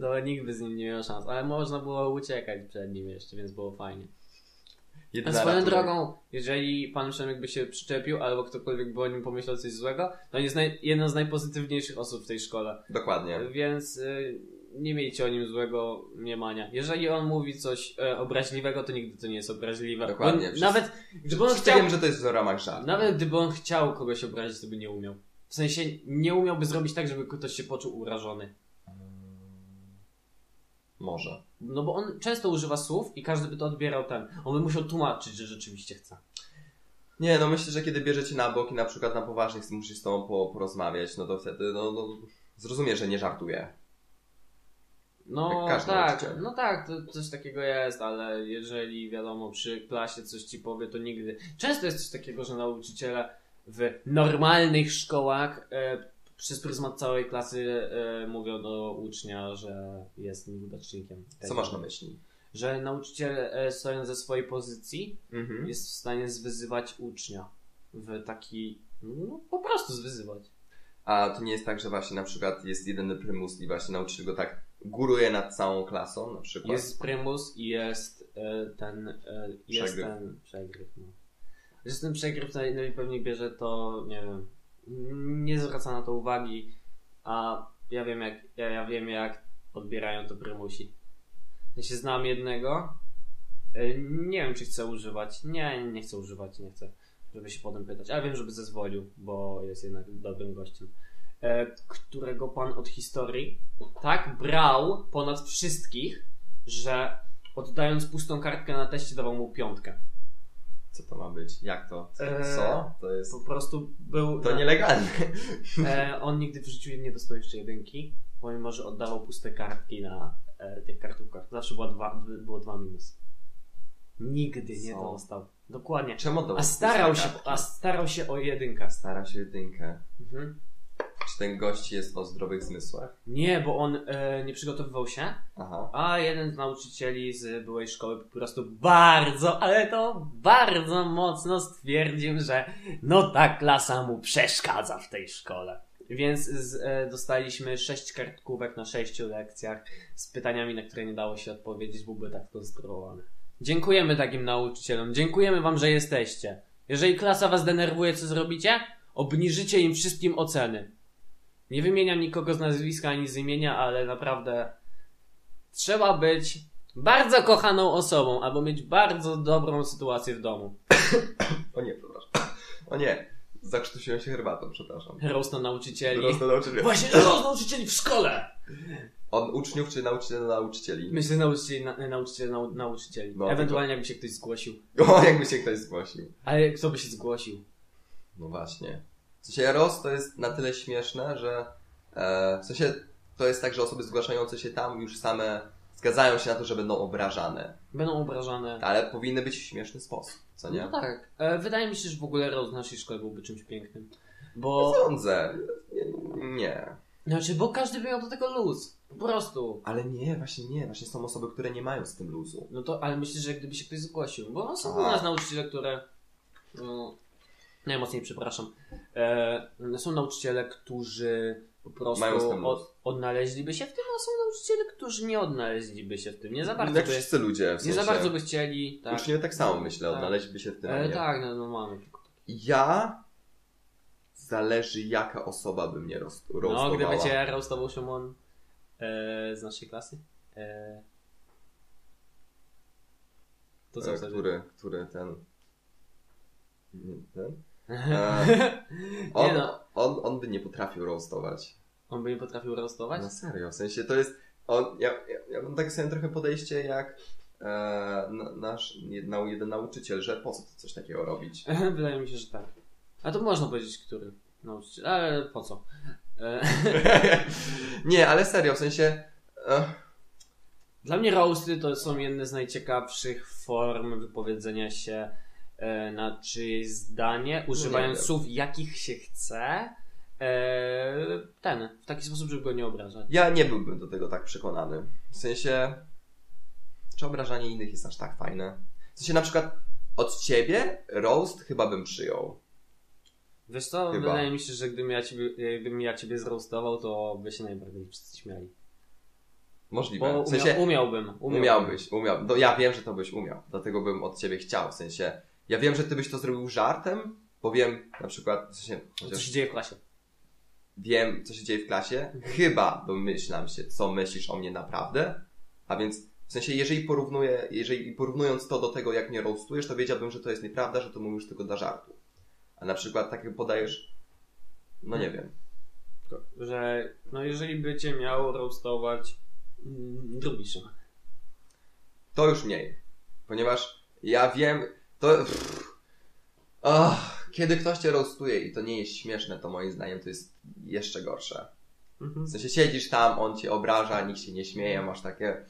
to nikt by z nim nie miał szans. Ale można było uciekać przed nim jeszcze, więc było fajnie. A
Jedyna
swoją
ratunek.
drogą, jeżeli pan Przemek by się przyczepił, albo ktokolwiek by o nim pomyślał coś złego, to on jest naj, jedną z najpozytywniejszych osób w tej szkole.
Dokładnie.
Więc y, nie miejcie o nim złego mniemania. Jeżeli on mówi coś e, obraźliwego, to nigdy to nie jest obraźliwe.
Dokładnie.
Bo On,
Wszyscy-
nawet, gdyby on chciał,
Wiem, że to jest w ramach żartu.
nawet gdyby on chciał kogoś obrazić, to by nie umiał. W sensie nie umiałby zrobić tak, żeby ktoś się poczuł urażony.
Może.
No bo on często używa słów i każdy by to odbierał ten. On by musiał tłumaczyć, że rzeczywiście chce.
Nie, no myślę, że kiedy bierzecie na bok i na przykład na poważnych musisz z tobą po, porozmawiać, no to wtedy, no, no zrozumie, że nie żartuje.
No
Jak każdy
tak,
nauczyciel.
no tak, to coś takiego jest, ale jeżeli wiadomo, przy klasie coś ci powie, to nigdy. Często jest coś takiego, że nauczyciele w normalnych szkołach e, przez pryzmat całej klasy e, mówią do ucznia, że jest nieudacznikiem.
Co masz na myśli?
Że nauczyciel e, stojąc ze swojej pozycji
Mhm.
jest w stanie zwyzywać ucznia w taki, no po prostu zwyzywać.
A to nie jest tak, że właśnie na przykład jest jeden prymus i właśnie nauczyciel go tak góruje nad całą klasą na przykład?
Jest prymus i jest e, ten. E, jest
Przegryw.
ten przegryw. No. Że ten przegryw naj- najpewniej bierze to, nie wiem, nie zwraca na to uwagi, a ja wiem jak, ja, ja wiem jak odbierają to prymusi. Ja się znam jednego, e, nie wiem czy chcę używać, nie, nie chcę używać, nie chcę, żeby się potem pytać, ale wiem, żeby zezwolił, bo jest jednak dobrym gościem. E, którego pan od historii tak brał ponad wszystkich, że oddając pustą kartkę na teście dawał mu piątkę.
Co to ma być? Jak to? Co?
Eee,
Co? To jest...
Po tak. prostu był.
To nielegalne.
e, on nigdy w życiu nie dostał jeszcze jedynki, pomimo że oddawał puste kartki na e, tych kartówkach. Zawsze była dwa, było dwa minus. Nigdy nie
Co?
dostał. Dokładnie.
Czemu to?
A starał się, a starał się o jedynkę.
Starał się jedynkę.
Mhm.
Czy ten gość jest o zdrowych zmysłach?
Nie, bo on e, nie przygotowywał się,
Aha.
a jeden z nauczycieli z byłej szkoły po prostu bardzo, ale to bardzo mocno stwierdził, że no ta klasa mu przeszkadza w tej szkole. Więc z, e, dostaliśmy sześć kartkówek na sześciu lekcjach z pytaniami, na które nie dało się odpowiedzieć, bo były tak skonstruowane. Dziękujemy takim nauczycielom, dziękujemy wam, że jesteście. Jeżeli klasa was denerwuje, co zrobicie? Obniżycie im wszystkim oceny. Nie wymieniam nikogo z nazwiska ani z imienia, ale naprawdę trzeba być bardzo kochaną osobą albo mieć bardzo dobrą sytuację w domu.
O nie, przepraszam. O nie. Zakrztusiłem się herbatą, przepraszam.
Roast na nauczycieli.
Prosto nauczyciel.
Właśnie roast nauczycieli w szkole!
Od uczniów czy nauczyciel do nauczycieli?
Myślę, nauczycieli, na, nauczycieli, nau, nauczycieli.
No,
Ewentualnie jakby się ktoś zgłosił.
O, jakby się ktoś zgłosił.
Ale kto by się zgłosił?
No właśnie. W sensie ROS to jest na tyle śmieszne, że e, w sensie to jest tak, że osoby zgłaszające się tam już same zgadzają się na to, że będą obrażane.
Będą obrażane.
Ale powinny być w śmieszny sposób, co Tak, nie?
No tak. E, wydaje mi się, że w ogóle roast w naszej szkole byłby czymś pięknym.
No
Bo...
Sądzę. Nie, nie.
Znaczy, bo każdy miał do tego luz. Po prostu.
Ale nie, właśnie nie. Właśnie są osoby, które nie mają z tym luzu.
No to, ale myślę, że gdyby się ktoś zgłosił, bo są
Aha.
u nas nauczyciele, które. No, najmocniej przepraszam. E, są nauczyciele, którzy po prostu
Mają z tym luz.
od, odnaleźliby się w tym, a są nauczyciele, którzy nie odnaleźliby się w tym. Nie za bardzo,
Jak
by,
wszyscy ludzie, w
nie
sensie.
za bardzo by chcieli. Tak,
Uczniowie tak samo, myślę,
Tak.
odnaleźliby się w tym.
e,
nie?
tak no, no mamy.
Ja... Zależy jaka osoba by mnie roz...
No,
roastowała.
gdyby cię roastował Szymon e, z naszej klasy, e, to co
E,
wtedy?
który, który ten. Nie, Ten? E, on,
Nie no.
on, on by nie potrafił roastować.
On by nie potrafił roastować?
Na serio, w sensie to jest. On, ja, ja, ja mam takie sobie trochę podejście jak e, na- nasz jedna, jeden nauczyciel, że po co to coś takiego robić?
Wydaje mi się, że tak. A to można powiedzieć, który nauczyciel, ale po co? E,
nie, ale serio, w sensie. E,
Dla mnie roasty to są jedne z najciekawszych form wypowiedzenia się e, na czyjeś zdanie, używając
No wiem.
słów, jakich się chce. E, ten, w taki sposób, żeby go nie obrażać.
ja nie byłbym do tego tak przekonany. W sensie. Czy obrażanie innych jest aż tak fajne? W sensie na przykład od ciebie roast chyba bym przyjął.
Wiesz co,
Chyba.
wydaje mi się, że gdybym ja ciebie, e, gdybym ja ciebie zroastował, to by się najbardziej wszyscy śmiali.
Możliwe.
Bo
w sensie,
umia- umiałbym, umiałbym.
Umiałbyś, umiał. No ja wiem, że to byś umiał, dlatego bym od ciebie chciał, w sensie, ja wiem, że ty byś to zrobił żartem, bo wiem na przykład, w sensie,
Co
chociaż
się dzieje w klasie?
wiem, co się dzieje w klasie, chyba domyślam się, co myślisz o mnie naprawdę, a więc, w sensie, jeżeli porównuję, jeżeli porównując to do tego, jak mnie roastujesz, to wiedziałbym, że to jest nieprawda, że to mówisz tylko dla żartu. A na przykład takie podajesz, no nie wiem,
Że no jeżeli by cię miał roastować mm, drugi Szymon.
to już mniej, ponieważ ja wiem, to... Pff, Ach, kiedy ktoś cię roastuje i to nie jest śmieszne, to moim zdaniem to jest jeszcze gorsze.
Mhm.
W sensie siedzisz tam, on cię obraża, nikt się nie śmieje, masz takie...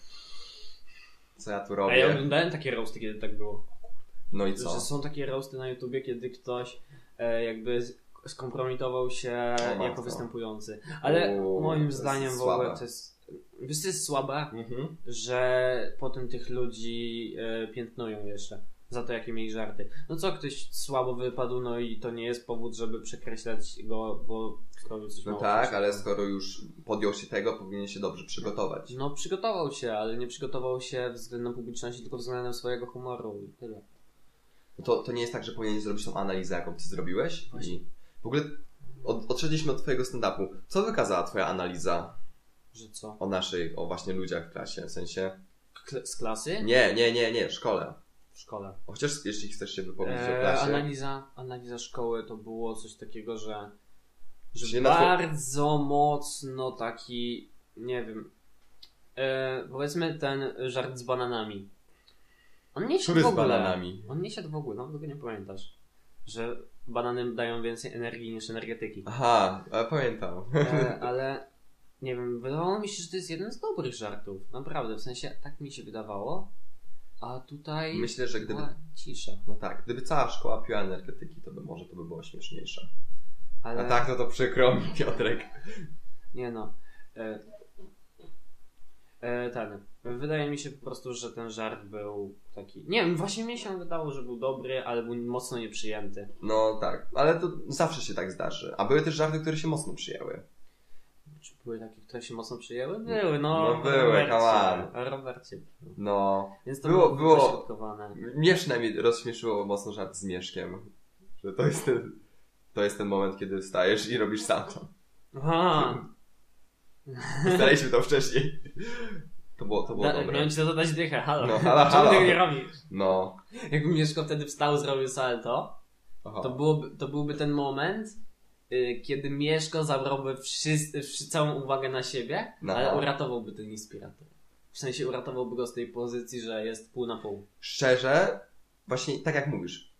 Co ja tu
A ja
robię?
oglądałem takie roasty, kiedy tak było.
No i
Że
co?
są takie roasty na YouTubie, kiedy ktoś e, jakby z- skompromitował się
matko.
jako występujący. Ale
Uuu, to
moim
jest
zdaniem w
słabe.
ogóle to jest. Wiesz, to jest słabe,
Mhm.
że potem tych ludzi e, piętnują jeszcze za to, jakie mieli żarty. No co, ktoś słabo wypadł, no i to nie jest powód, żeby przekreślać go, bo zrobił coś
No
mało.
tak, ale skoro już podjął się tego, powinien się dobrze przygotować.
No przygotował się, ale nie przygotował się względem publiczności, tylko względem swojego humoru i tyle.
To, to nie jest tak, że powinien zrobić tą analizę, jaką ty zrobiłeś?
Właśnie.
I w ogóle od, odszedliśmy od twojego stand-upu. Co wykazała twoja analiza
Że co?
o naszych, o właśnie ludziach w klasie? W sensie...
Kl- z klasy?
Nie, nie, nie, nie, w szkole.
W szkole.
Chociaż jeśli chcesz się wypowiedzieć o
Eee,
klasie...
analiza, analiza szkoły to było coś takiego, że, że
Czyli na twoje-
bardzo mocno taki, nie wiem, eee, powiedzmy ten żart z bananami. On nie siadł
Który
w
z
ogóle.
bananami?
On nie siadł w ogóle, no tego nie pamiętasz. Że banany dają więcej energii niż energetyki.
Aha, e, pamiętam.
E, ale nie wiem, wydawało mi się, że to jest jeden z dobrych żartów. Naprawdę, w sensie tak mi się wydawało. A tutaj
Myślę, że gdyby...
była cisza.
No tak, gdyby cała szkoła piła energetyki, to by może to by było śmieszniejsze.
Ale...
A tak, no to przykro mi, Piotrek.
Nie no. E, e, ten. Wydaje mi się po prostu, że ten żart był taki. Nie wiem, właśnie mnie się wydało, że był dobry, ale był mocno nieprzyjęty.
No tak, ale to zawsze się tak zdarzy. A były też żarty, które się mocno przyjęły.
Czy były takie, które się mocno przyjęły? Były, no.
No były,
Robercie, Robercie.
No,
Więc to
Było-
było,
było.
było wyśrodkowane.
Mnie przynajmniej rozśmieszyło mocno żart z Mieszkiem. Że to jest ten, to jest ten moment, kiedy wstajesz i robisz sam to.
Aha!
Ustaliliśmy to wcześniej. To było, to było
Da,
dobre.
miałem ci dodać dychę, halo.
No, halo,
Czemu
halo.
tego nie robisz?
No.
Jakby Mieszko wtedy wstał, zrobił salto,
Aha.
to, byłoby, to byłby ten moment, y, kiedy Mieszko zabrałby wszyscy, wszy- całą uwagę na siebie,
No.
ale uratowałby ten inspirator. W sensie uratowałby go z tej pozycji, że jest pół na pół.
Szczerze, właśnie tak jak mówisz.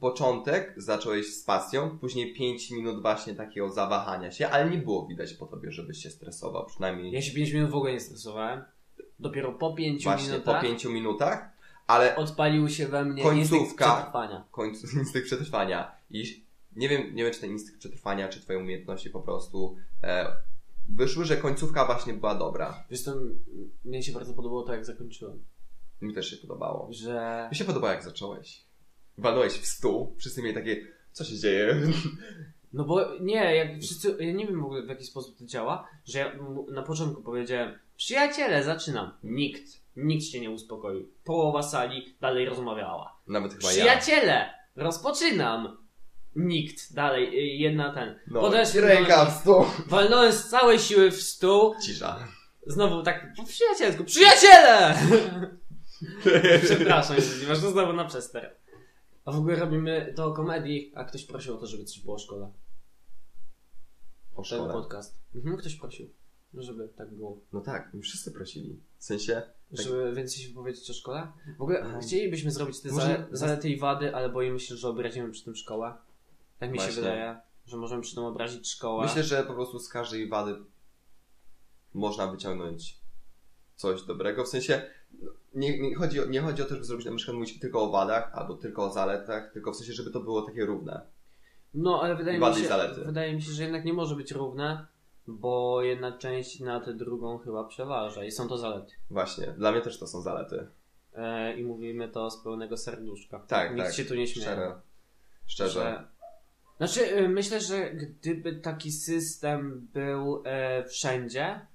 Początek zacząłeś z pasją, później 5 minut właśnie takiego zawahania się, ale nie było widać po tobie, żebyś się stresował. Przynajmniej
Ja się 5 minut w ogóle nie stresowałem. Dopiero po 5
właśnie po
minutach
5 minutach, ale
odpalił się we mnie
Końcówka.
instynkt przetrwania.
końcu instynkt przetrwania. I nie wiem, nie wiem, czy ten instynkt przetrwania, czy twoje umiejętności po prostu e, wyszły, że końcówka właśnie była dobra.
Wiesz co, mnie się bardzo podobało to, jak zakończyłem.
Mi też się podobało.
Że...
Mi się podobało, jak zacząłeś. Walnąłeś w stół, wszyscy mieli takie, co się dzieje?
No bo nie, jak wszyscy... Ja nie wiem w ogóle, w jaki sposób to działa, że ja mu na początku powiedziałem przyjaciele, zaczynam. Nikt. Nikt się nie uspokoił. Połowa sali dalej rozmawiała.
Nawet chyba ja.
Przyjaciele, rozpoczynam. Nikt. Dalej, y, jedna ten.
No,
Podeszli
ręka w stół.
Walnąłem z całej siły w stół.
Cisza.
Znowu tak po przyjacielsku. Przyjaciele! Przepraszam, jeżeli masz to znowu na przester. A w ogóle robimy to o komedii, a ktoś prosił o to, żeby coś było o szkole.
O
Ten
szkole.
podcast. Mhm, ktoś prosił, żeby tak było.
No tak, mi wszyscy prosili. W sensie, Tak.
Żeby więcej się powiedzieć o szkole. W ogóle
Aha.
chcielibyśmy zrobić te
Może-
zale, zalety i wady, ale boimy się, że obrazimy przy tym szkołę. Tak mi się
Właśnie.
wydaje, że możemy przy tym obrazić szkołę.
myślę, że po prostu z każdej wady można wyciągnąć coś dobrego. W sensie, no, nie, nie, chodzi, o, nie chodzi o to, żeby zrobić na przykład mówić tylko o wadach, albo tylko o zaletach, tylko w sensie, żeby to było takie równe.
No, ale wydaje
I
mi,
wady, i
się,
zalety.
wydaje mi się, że jednak nie może być równe, bo jedna część nad drugą chyba przeważa i są to zalety.
Właśnie, dla mnie też to są zalety.
E, I mówimy to z pełnego serduszka.
Tak,
Nikt
tak.
się tu nie śmieje.
Szczerze. Szczerze.
Znaczy, y, myślę, że gdyby taki system był e, wszędzie,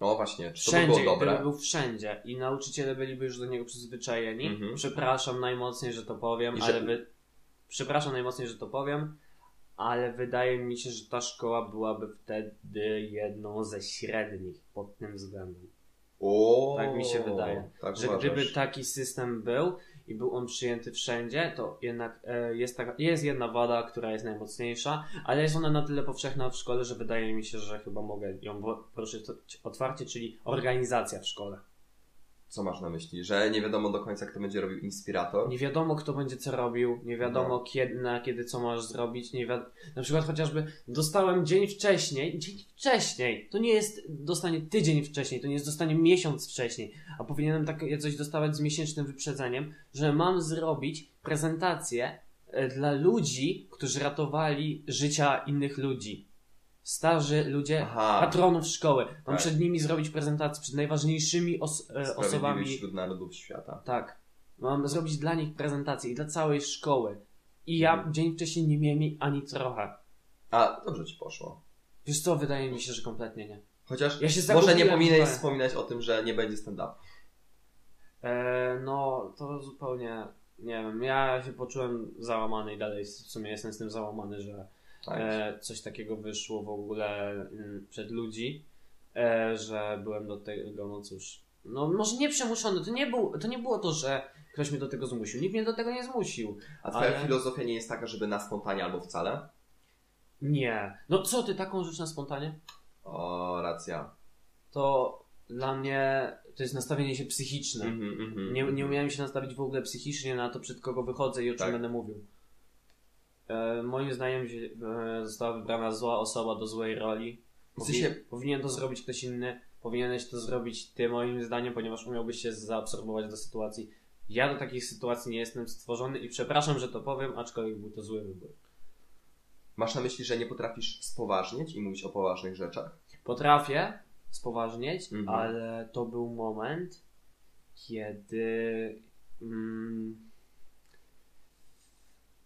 No właśnie, czy to by
wszędzie,
było dobre?
gdyby był wszędzie i nauczyciele byliby już do niego przyzwyczajeni,
Mhm.
przepraszam najmocniej, że to powiem,
I że-
ale wy... przepraszam najmocniej, że to powiem, ale wydaje mi się, że ta szkoła byłaby wtedy jedną ze średnich pod tym względem.
O,
Tak mi się wydaje,
Tak
że
uważasz.
gdyby taki system był i był on przyjęty wszędzie, to jednak e, jest, taka, jest jedna wada, która jest najmocniejsza, ale jest ona na tyle powszechna w szkole, że wydaje mi się, że chyba mogę ją wo- poruszyć to- otwarcie, czyli organizacja w szkole.
Co masz na myśli? Że nie wiadomo do końca, kto będzie robił inspirator?
Nie wiadomo, kto będzie co robił, nie wiadomo
No.
kiedy, na kiedy co masz zrobić, nie wiadomo. Na przykład chociażby dostałem dzień wcześniej, dzień wcześniej, to nie jest dostanie tydzień wcześniej, to nie jest dostanie miesiąc wcześniej, a powinienem takie coś dostawać z miesięcznym wyprzedzeniem, że mam zrobić prezentację e, dla ludzi, którzy ratowali życia innych ludzi. Starzy ludzie,
Aha.
patronów szkoły. Mam
Tak.
przed nimi zrobić prezentację, przed najważniejszymi os- e,
Sprawiedliwi
osobami.
wśród narodów świata.
Tak. Mam zrobić dla nich prezentację i dla całej szkoły. I ja
Mhm.
dzień wcześniej nie miałem jej ani trochę.
A, dobrze ci poszło.
Wiesz co, wydaje mi się, że kompletnie nie.
Chociaż
Ja się
może nie
zagubiłem
powinieneś
trochę.
wspominać o tym, że nie będzie stand-up.
E, no, to zupełnie, nie wiem, ja się poczułem załamany i dalej w sumie jestem z tym załamany, że
Tak.
e, coś takiego wyszło w ogóle mm, przed ludzi, e, że byłem do tego, no cóż, no może nie przymuszony, to nie, był, to nie było to, że ktoś mnie do tego zmusił, nikt mnie do tego nie zmusił.
A twoja
ale-
filozofia nie jest taka, żeby na spontanie albo wcale?
Nie. No co, ty taką rzecz na spontanie?
O, racja.
to dla mnie to jest nastawienie się psychiczne.
Mhm, mhm.
No. Nie, nie umiałem się nastawić w ogóle psychicznie na to, przed kogo wychodzę i o czym
Tak.
będę mówił. E, moim zdaniem zie- e, została wybrana zła osoba do złej roli.
W
Powinien,
sensie,
powinien to zrobić ktoś inny. Powinieneś to zrobić ty, moim zdaniem, ponieważ umiałbyś się zaabsorbować do sytuacji. Ja do takich sytuacji nie jestem stworzony i przepraszam, że to powiem, aczkolwiek był to zły wybór.
masz na myśli, że nie potrafisz spoważnieć i mówić o poważnych rzeczach?
Potrafię spoważnieć,
Mhm.
ale to był moment, kiedy mm,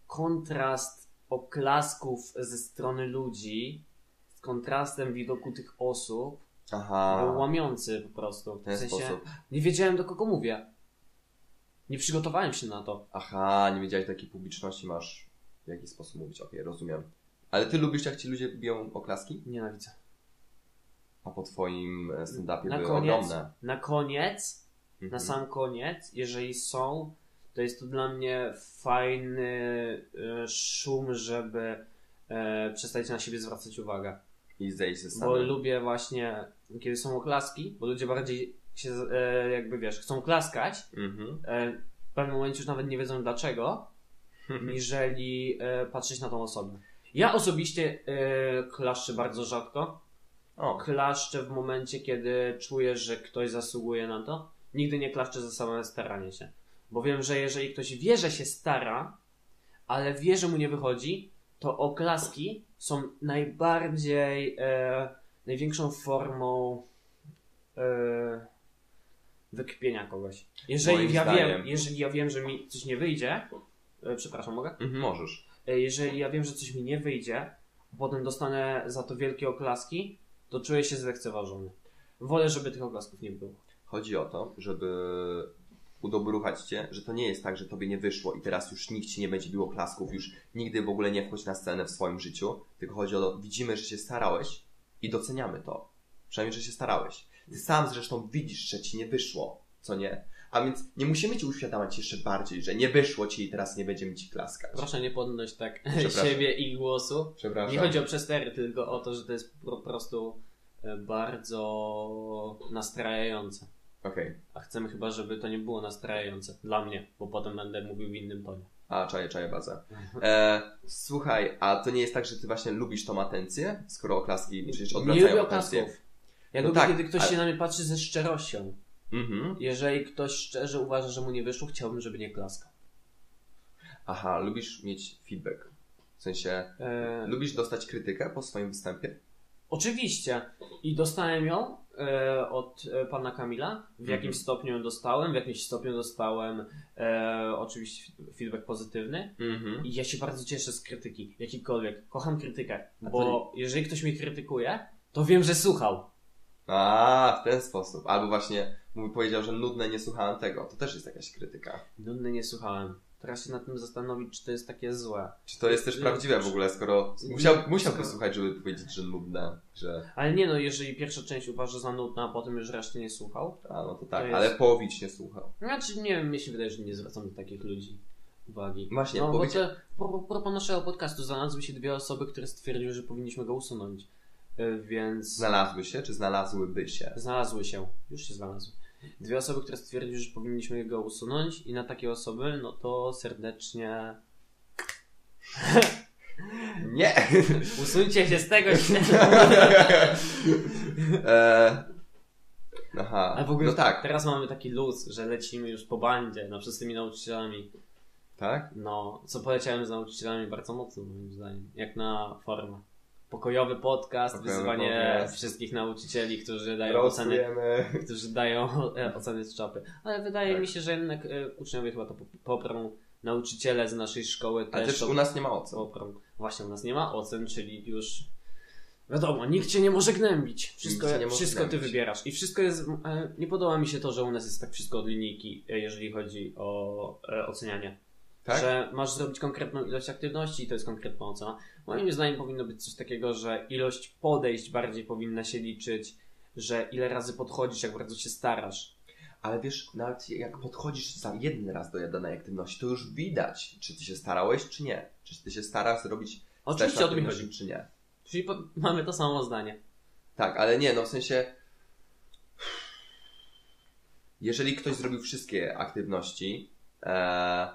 kontrast oklasków ze strony ludzi z kontrastem widoku tych osób
Aha.
był łamiący po prostu.
W
W
ten
sensie
sposób.
nie wiedziałem do kogo mówię. Nie przygotowałem się na to.
Aha, nie wiedziałeś takiej publiczności masz w jaki sposób mówić. Okej, rozumiem. Ale ty lubisz, jak ci ludzie biją oklaski?
Nienawidzę.
A po twoim e, stand-upie
Na
były
koniec.
ogromne.
Na koniec na
Mhm.
sam koniec, jeżeli są, to jest to dla mnie fajny e, szum, żeby e, przestać na siebie zwracać uwagę.
I zejść ze
Bo
sceny.
lubię właśnie, kiedy są oklaski, bo ludzie bardziej się, z- e, jakby wiesz, chcą klaskać,
Mhm.
e, w pewnym momencie już nawet nie wiedzą dlaczego, niżeli e, patrzeć na tą osobę. Ja osobiście e, klaszczę bardzo rzadko,
O,
klaszczę w momencie, kiedy czuję, że ktoś zasługuje na to. Nigdy nie klaszczę za same staranie się. Bo wiem, że jeżeli ktoś wie, że się stara, ale wie, że mu nie wychodzi, to oklaski są najbardziej, e, największą formą e, wykpienia kogoś.
Moim
Jeżeli ja,
zdaniem.
wiem, jeżeli ja wiem, że mi coś nie wyjdzie, e, przepraszam, mogę?
mhm, możesz.
E, jeżeli ja wiem, że coś mi nie wyjdzie, a potem dostanę za to wielkie oklaski, to czuję się zlekceważony. Wolę, żeby tych oklasków nie było.
Chodzi o to, żeby udobruchać cię, że to nie jest tak, że tobie nie wyszło i teraz już nikt ci nie będzie bił oklasków, już nigdy w ogóle nie wchodź na scenę w swoim życiu, tylko chodzi o to, widzimy, że się starałeś i doceniamy to. Przynajmniej, że się starałeś. Ty sam zresztą widzisz, że ci nie wyszło, co nie? A więc nie musimy ci uświadamiać jeszcze bardziej, że nie wyszło ci i teraz nie będziemy ci klaskać.
Proszę nie podnosić tak
Przepraszam.
siebie i głosu.
Przepraszam.
Nie chodzi o przestery, tylko o to, że to jest po prostu e, bardzo nastrajające.
Okej.
A chcemy chyba, żeby to nie było nastrajające dla mnie, bo potem będę mówił w innym tonie.
A, czaję, czaję bazę.
Mhm.
E, słuchaj, a to nie jest tak, że ty właśnie lubisz tą atencję? Skoro oklaski przecież
Nie
odwracają
lubię
atencję.
oklasków. Ja
No
lubię,
tak,
kiedy ktoś
ale-
się na mnie patrzy ze szczerością.
Mhm.
Jeżeli ktoś szczerze uważa, że mu nie wyszło, chciałbym, żeby nie klaskał.
Aha, lubisz mieć feedback. W sensie,
E,
lubisz dostać krytykę po swoim występie?
Oczywiście. I dostałem ją e, od e, pana Kamila. W
Mhm.
jakimś stopniu ją dostałem, w jakimś stopniu dostałem e, oczywiście fi- feedback pozytywny.
Mhm.
I ja się bardzo cieszę z krytyki, jakikolwiek. Kocham krytykę,
A to
bo jeżeli ktoś mnie krytykuje, to wiem, że słuchał.
A, w ten sposób. Albo właśnie mój powiedział, że nudne, nie słuchałem tego. To też jest jakaś krytyka.
Nudny nie słuchałem. Teraz się nad tym zastanowić, czy to jest takie złe.
Czy to jest też
Nie,
prawdziwe w
czy-
ogóle, skoro musiał, musiał
skoro-
posłuchać, żeby powiedzieć, że nudne, że
Ale nie no, jeżeli pierwsza część uważa za nudna, a potem już reszty nie słuchał.
a, no to tak,
jest-
ale połowić nie słuchał.
Znaczy, nie wiem, mnie się wydaje, że nie zwracam do takich ludzi uwagi.
Właśnie,
No,
powiedz...
bo te, po, po, po naszego podcastu znalazły się dwie osoby, które stwierdziły, że powinniśmy go usunąć. Y, Więc
Znalazły się, czy znalazłyby się?
znalazły się, już się znalazły. Dwie osoby, które stwierdziły, że powinniśmy go usunąć i na takie osoby, no to serdecznie
Nie!
usuńcie się z tego
e... Aha,
A w ogóle
no tak,
teraz mamy taki luz, że lecimy już po bandzie, no przez tymi nauczycielami.
tak?
No, co poleciałem z nauczycielami bardzo mocno, moim zdaniem, jak na formę. Pokojowy podcast,
Pokojowy
wyzywanie
podcast.
wszystkich nauczycieli, którzy dają oceny
Rosujemy.
którzy dają e, oceny z czapy. Ale wydaje
Tak.
mi się, że jednak e, uczniowie chyba to pop- poprą. Nauczyciele z naszej szkoły
Ale
też,
też
to
u nas nie ma ocen.
poprą. Właśnie u nas nie ma ocen, czyli już wiadomo, nikt cię nie może gnębić. Wszystko,
Nikt cię nie może
wszystko ty
gnębić.
wybierasz. I wszystko jest. E, nie podoba mi się to, że u nas jest tak wszystko od linijki, e, jeżeli chodzi o e, ocenianie.
Tak?
Że masz zrobić konkretną ilość aktywności i to jest konkretna ocena. Moim zdaniem powinno być coś takiego, że ilość podejść bardziej powinna się liczyć, że ile razy podchodzisz, jak bardzo się starasz.
Ale wiesz, nawet jak podchodzisz za jeden raz do danej aktywności, to już widać, czy ty się starałeś, czy nie. Czy ty się starasz zrobić
Oczywiście o
tę
to mi chodzi.
czy nie.
Czyli po, mamy to samo zdanie.
Tak, ale nie, no w sensie... Jeżeli ktoś zrobił wszystkie aktywności e,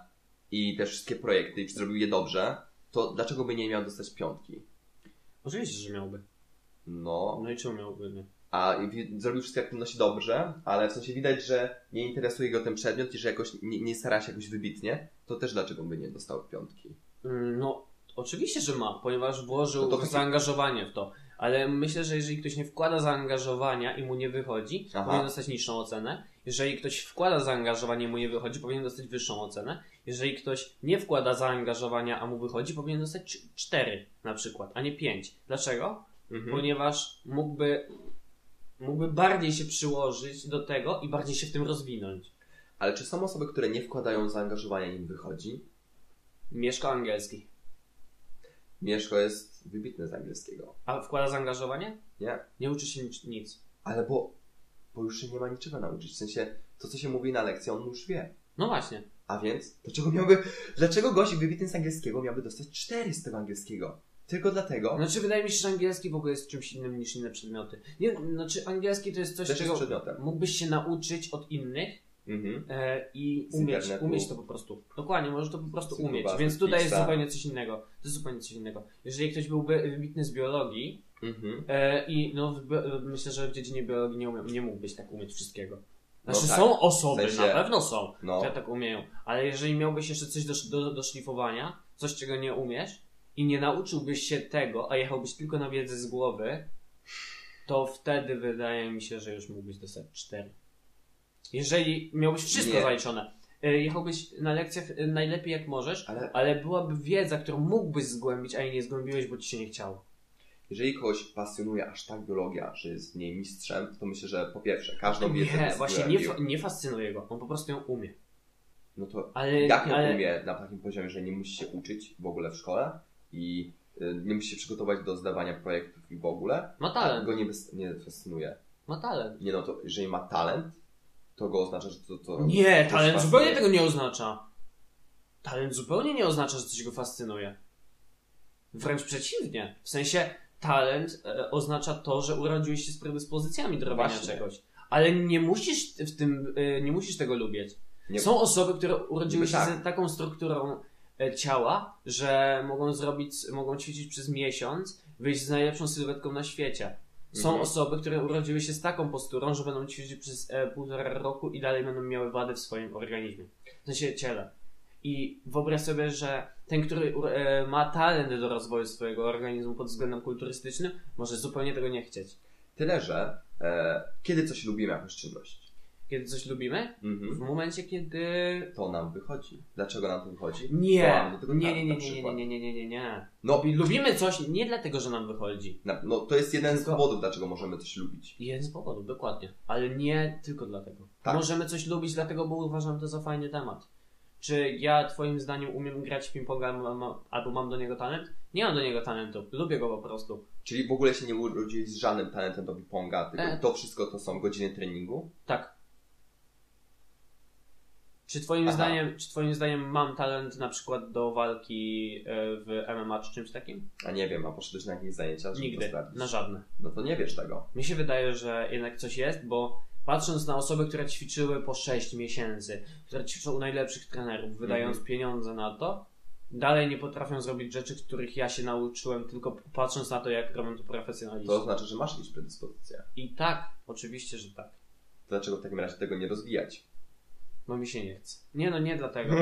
i te wszystkie projekty i zrobił je dobrze, to dlaczego by nie miał dostać piątki?
Oczywiście, że miałby.
No,
No i czemu miałby? Nie?
a wi- zrobił wszystkie aktywności dobrze, ale w sensie widać, że nie interesuje go ten przedmiot i że jakoś nie, nie stara się jakoś wybitnie, to też dlaczego by nie dostał piątki?
Mm, No, oczywiście, że ma, ponieważ włożył
No to taki-
zaangażowanie w to. Ale myślę, że jeżeli ktoś nie wkłada zaangażowania i mu nie wychodzi,
Aha.
powinien dostać niższą ocenę. Jeżeli ktoś wkłada zaangażowanie i mu nie wychodzi, powinien dostać wyższą ocenę. Jeżeli ktoś nie wkłada zaangażowania, a mu wychodzi, powinien dostać 4 na przykład, a nie 5. Dlaczego?
Mhm.
ponieważ mógłby, mógłby bardziej się przyłożyć do tego i bardziej się w tym rozwinąć.
Ale czy są osoby, które nie wkładają zaangażowania i im wychodzi?
Mieszka angielski.
Mieszko jest wybitny z angielskiego.
A wkłada zaangażowanie?
Nie.
Nie uczy się nic. nic.
Ale bo, bo już się nie ma niczego nauczyć. W sensie, to co się mówi na lekcji, on już wie.
No właśnie.
A więc, dlaczego miałby, dlaczego gość wybitny z angielskiego miałby dostać cztery z tego angielskiego? Tylko dlatego,
Znaczy wydaje mi się, że angielski w ogóle jest czymś innym niż inne przedmioty. Nie, znaczy angielski to jest coś,
Też jest
czego
przedmiotem.
mógłbyś się nauczyć od innych
mhm.
e, i
Z
umieć,
internetu.
umieć to po prostu. Dokładnie, możesz to po prostu
Cyklu
umieć.
bazy,
Więc tutaj jest
pisa.
zupełnie coś innego. To jest zupełnie coś innego. Jeżeli ktoś byłby wybitny z biologii,
Mhm.
E, I no, w bio- myślę, że w dziedzinie biologii nie, umiem, nie mógłbyś tak umieć wszystkiego. Znaczy
No tak.
są osoby,
W sensie-
na pewno są,
No.
które tak umieją, ale jeżeli miałbyś jeszcze coś do, do, do szlifowania, coś czego nie umiesz i nie nauczyłbyś się tego, a jechałbyś tylko na wiedzę z głowy, to wtedy wydaje mi się, że już mógłbyś dostać 4. Jeżeli miałbyś wszystko
Nie.
zaliczone, e, jechałbyś na lekcjach e, najlepiej jak możesz,
Ale
ale byłaby wiedza, którą mógłbyś zgłębić, a jej nie zgłębiłeś, bo ci się nie chciało.
Jeżeli kogoś pasjonuje aż tak biologia, że jest w niej mistrzem, to myślę, że po pierwsze, każdą wiedzę
Nie,
by
właśnie nie,
zgłębił.
fa- nie fascynuje go. On po prostu ją umie.
No to
Ale,
jak ją
ale
umie na takim poziomie, że nie musi się uczyć w ogóle w szkole i y, nie musi się przygotować do zdawania projektów i w ogóle,
ma
ale
talent.
go nie, bez, nie fascynuje.
Ma talent.
Nie no, to jeżeli ma talent, to go oznacza, że to... to
Nie,
to
talent
się
zupełnie
fascynuje.
tego nie oznacza. Talent zupełnie nie oznacza, że coś go fascynuje. Wręcz przeciwnie. W sensie talent e, oznacza to, że urodziłeś się z predyspozycjami do robienia
Właśnie.
czegoś. Ale nie musisz w tym, e, nie musisz tego lubić.
Nie-
Są osoby, które urodziły
Niby
się
tak.
z taką strukturą e, ciała, że mogą zrobić, mogą ćwiczyć przez miesiąc, wyjść z najlepszą sylwetką na świecie. Są
Mhm.
osoby, które urodziły się z taką posturą, że będą ćwiczyć przez e, półtora roku i dalej będą miały wady w swoim organizmie, w sensie ciele. I wyobraź sobie, że ten, który u- e, ma talent do rozwoju swojego organizmu pod względem kulturystycznym, może zupełnie tego nie chcieć.
Tyle, że e, kiedy coś lubimy jakąś czynność,
Kiedy coś lubimy, w
mhm.
momencie, kiedy.
to nam wychodzi. Dlaczego nam to wychodzi? To
Nie,
mamy do tego
nie, nie,
talent
nie,
tak, na
nie,
przykład.
nie, nie, nie, nie, nie, nie.
No,
Lubi- Lubimy coś nie dlatego, że nam wychodzi.
na, no to jest jeden z
Tylko-
powodów, dlaczego możemy coś lubić.
Jeden z powodów, dokładnie. Ale nie tylko dlatego.
Tak.
Możemy coś lubić dlatego, bo uważam to za fajny temat. Czy ja twoim zdaniem umiem grać w ping-ponga albo mam- albo mam do niego talent? Nie mam do niego talentu. Lubię go po prostu.
Czyli w ogóle się nie urodziłeś z żadnym talentem do ping-ponga, tylko
E.
to wszystko to są godziny treningu.
Tak. Czy twoim,
Aha.
zdaniem, czy twoim zdaniem mam talent na przykład do walki e, w MMA czy czymś takim?
A nie wiem, a poszedłeś na jakieś zajęcia, żeby to
Nigdy.
sprawdzić?
Na żadne.
No to nie wiesz tego.
Mi się wydaje, że jednak coś jest, bo patrząc na osoby, które ćwiczyły po 6 miesięcy, które ćwiczą u najlepszych trenerów, wydając pieniądze na to, dalej nie potrafią zrobić rzeczy, których ja się nauczyłem, tylko patrząc na to, jak robią to profesjonaliści.
To oznacza, że masz jakieś predyspozycje.
I tak, oczywiście, że tak.
To dlaczego w takim razie tego nie rozwijać?
Bo mi się nie chce. Nie no, nie dlatego.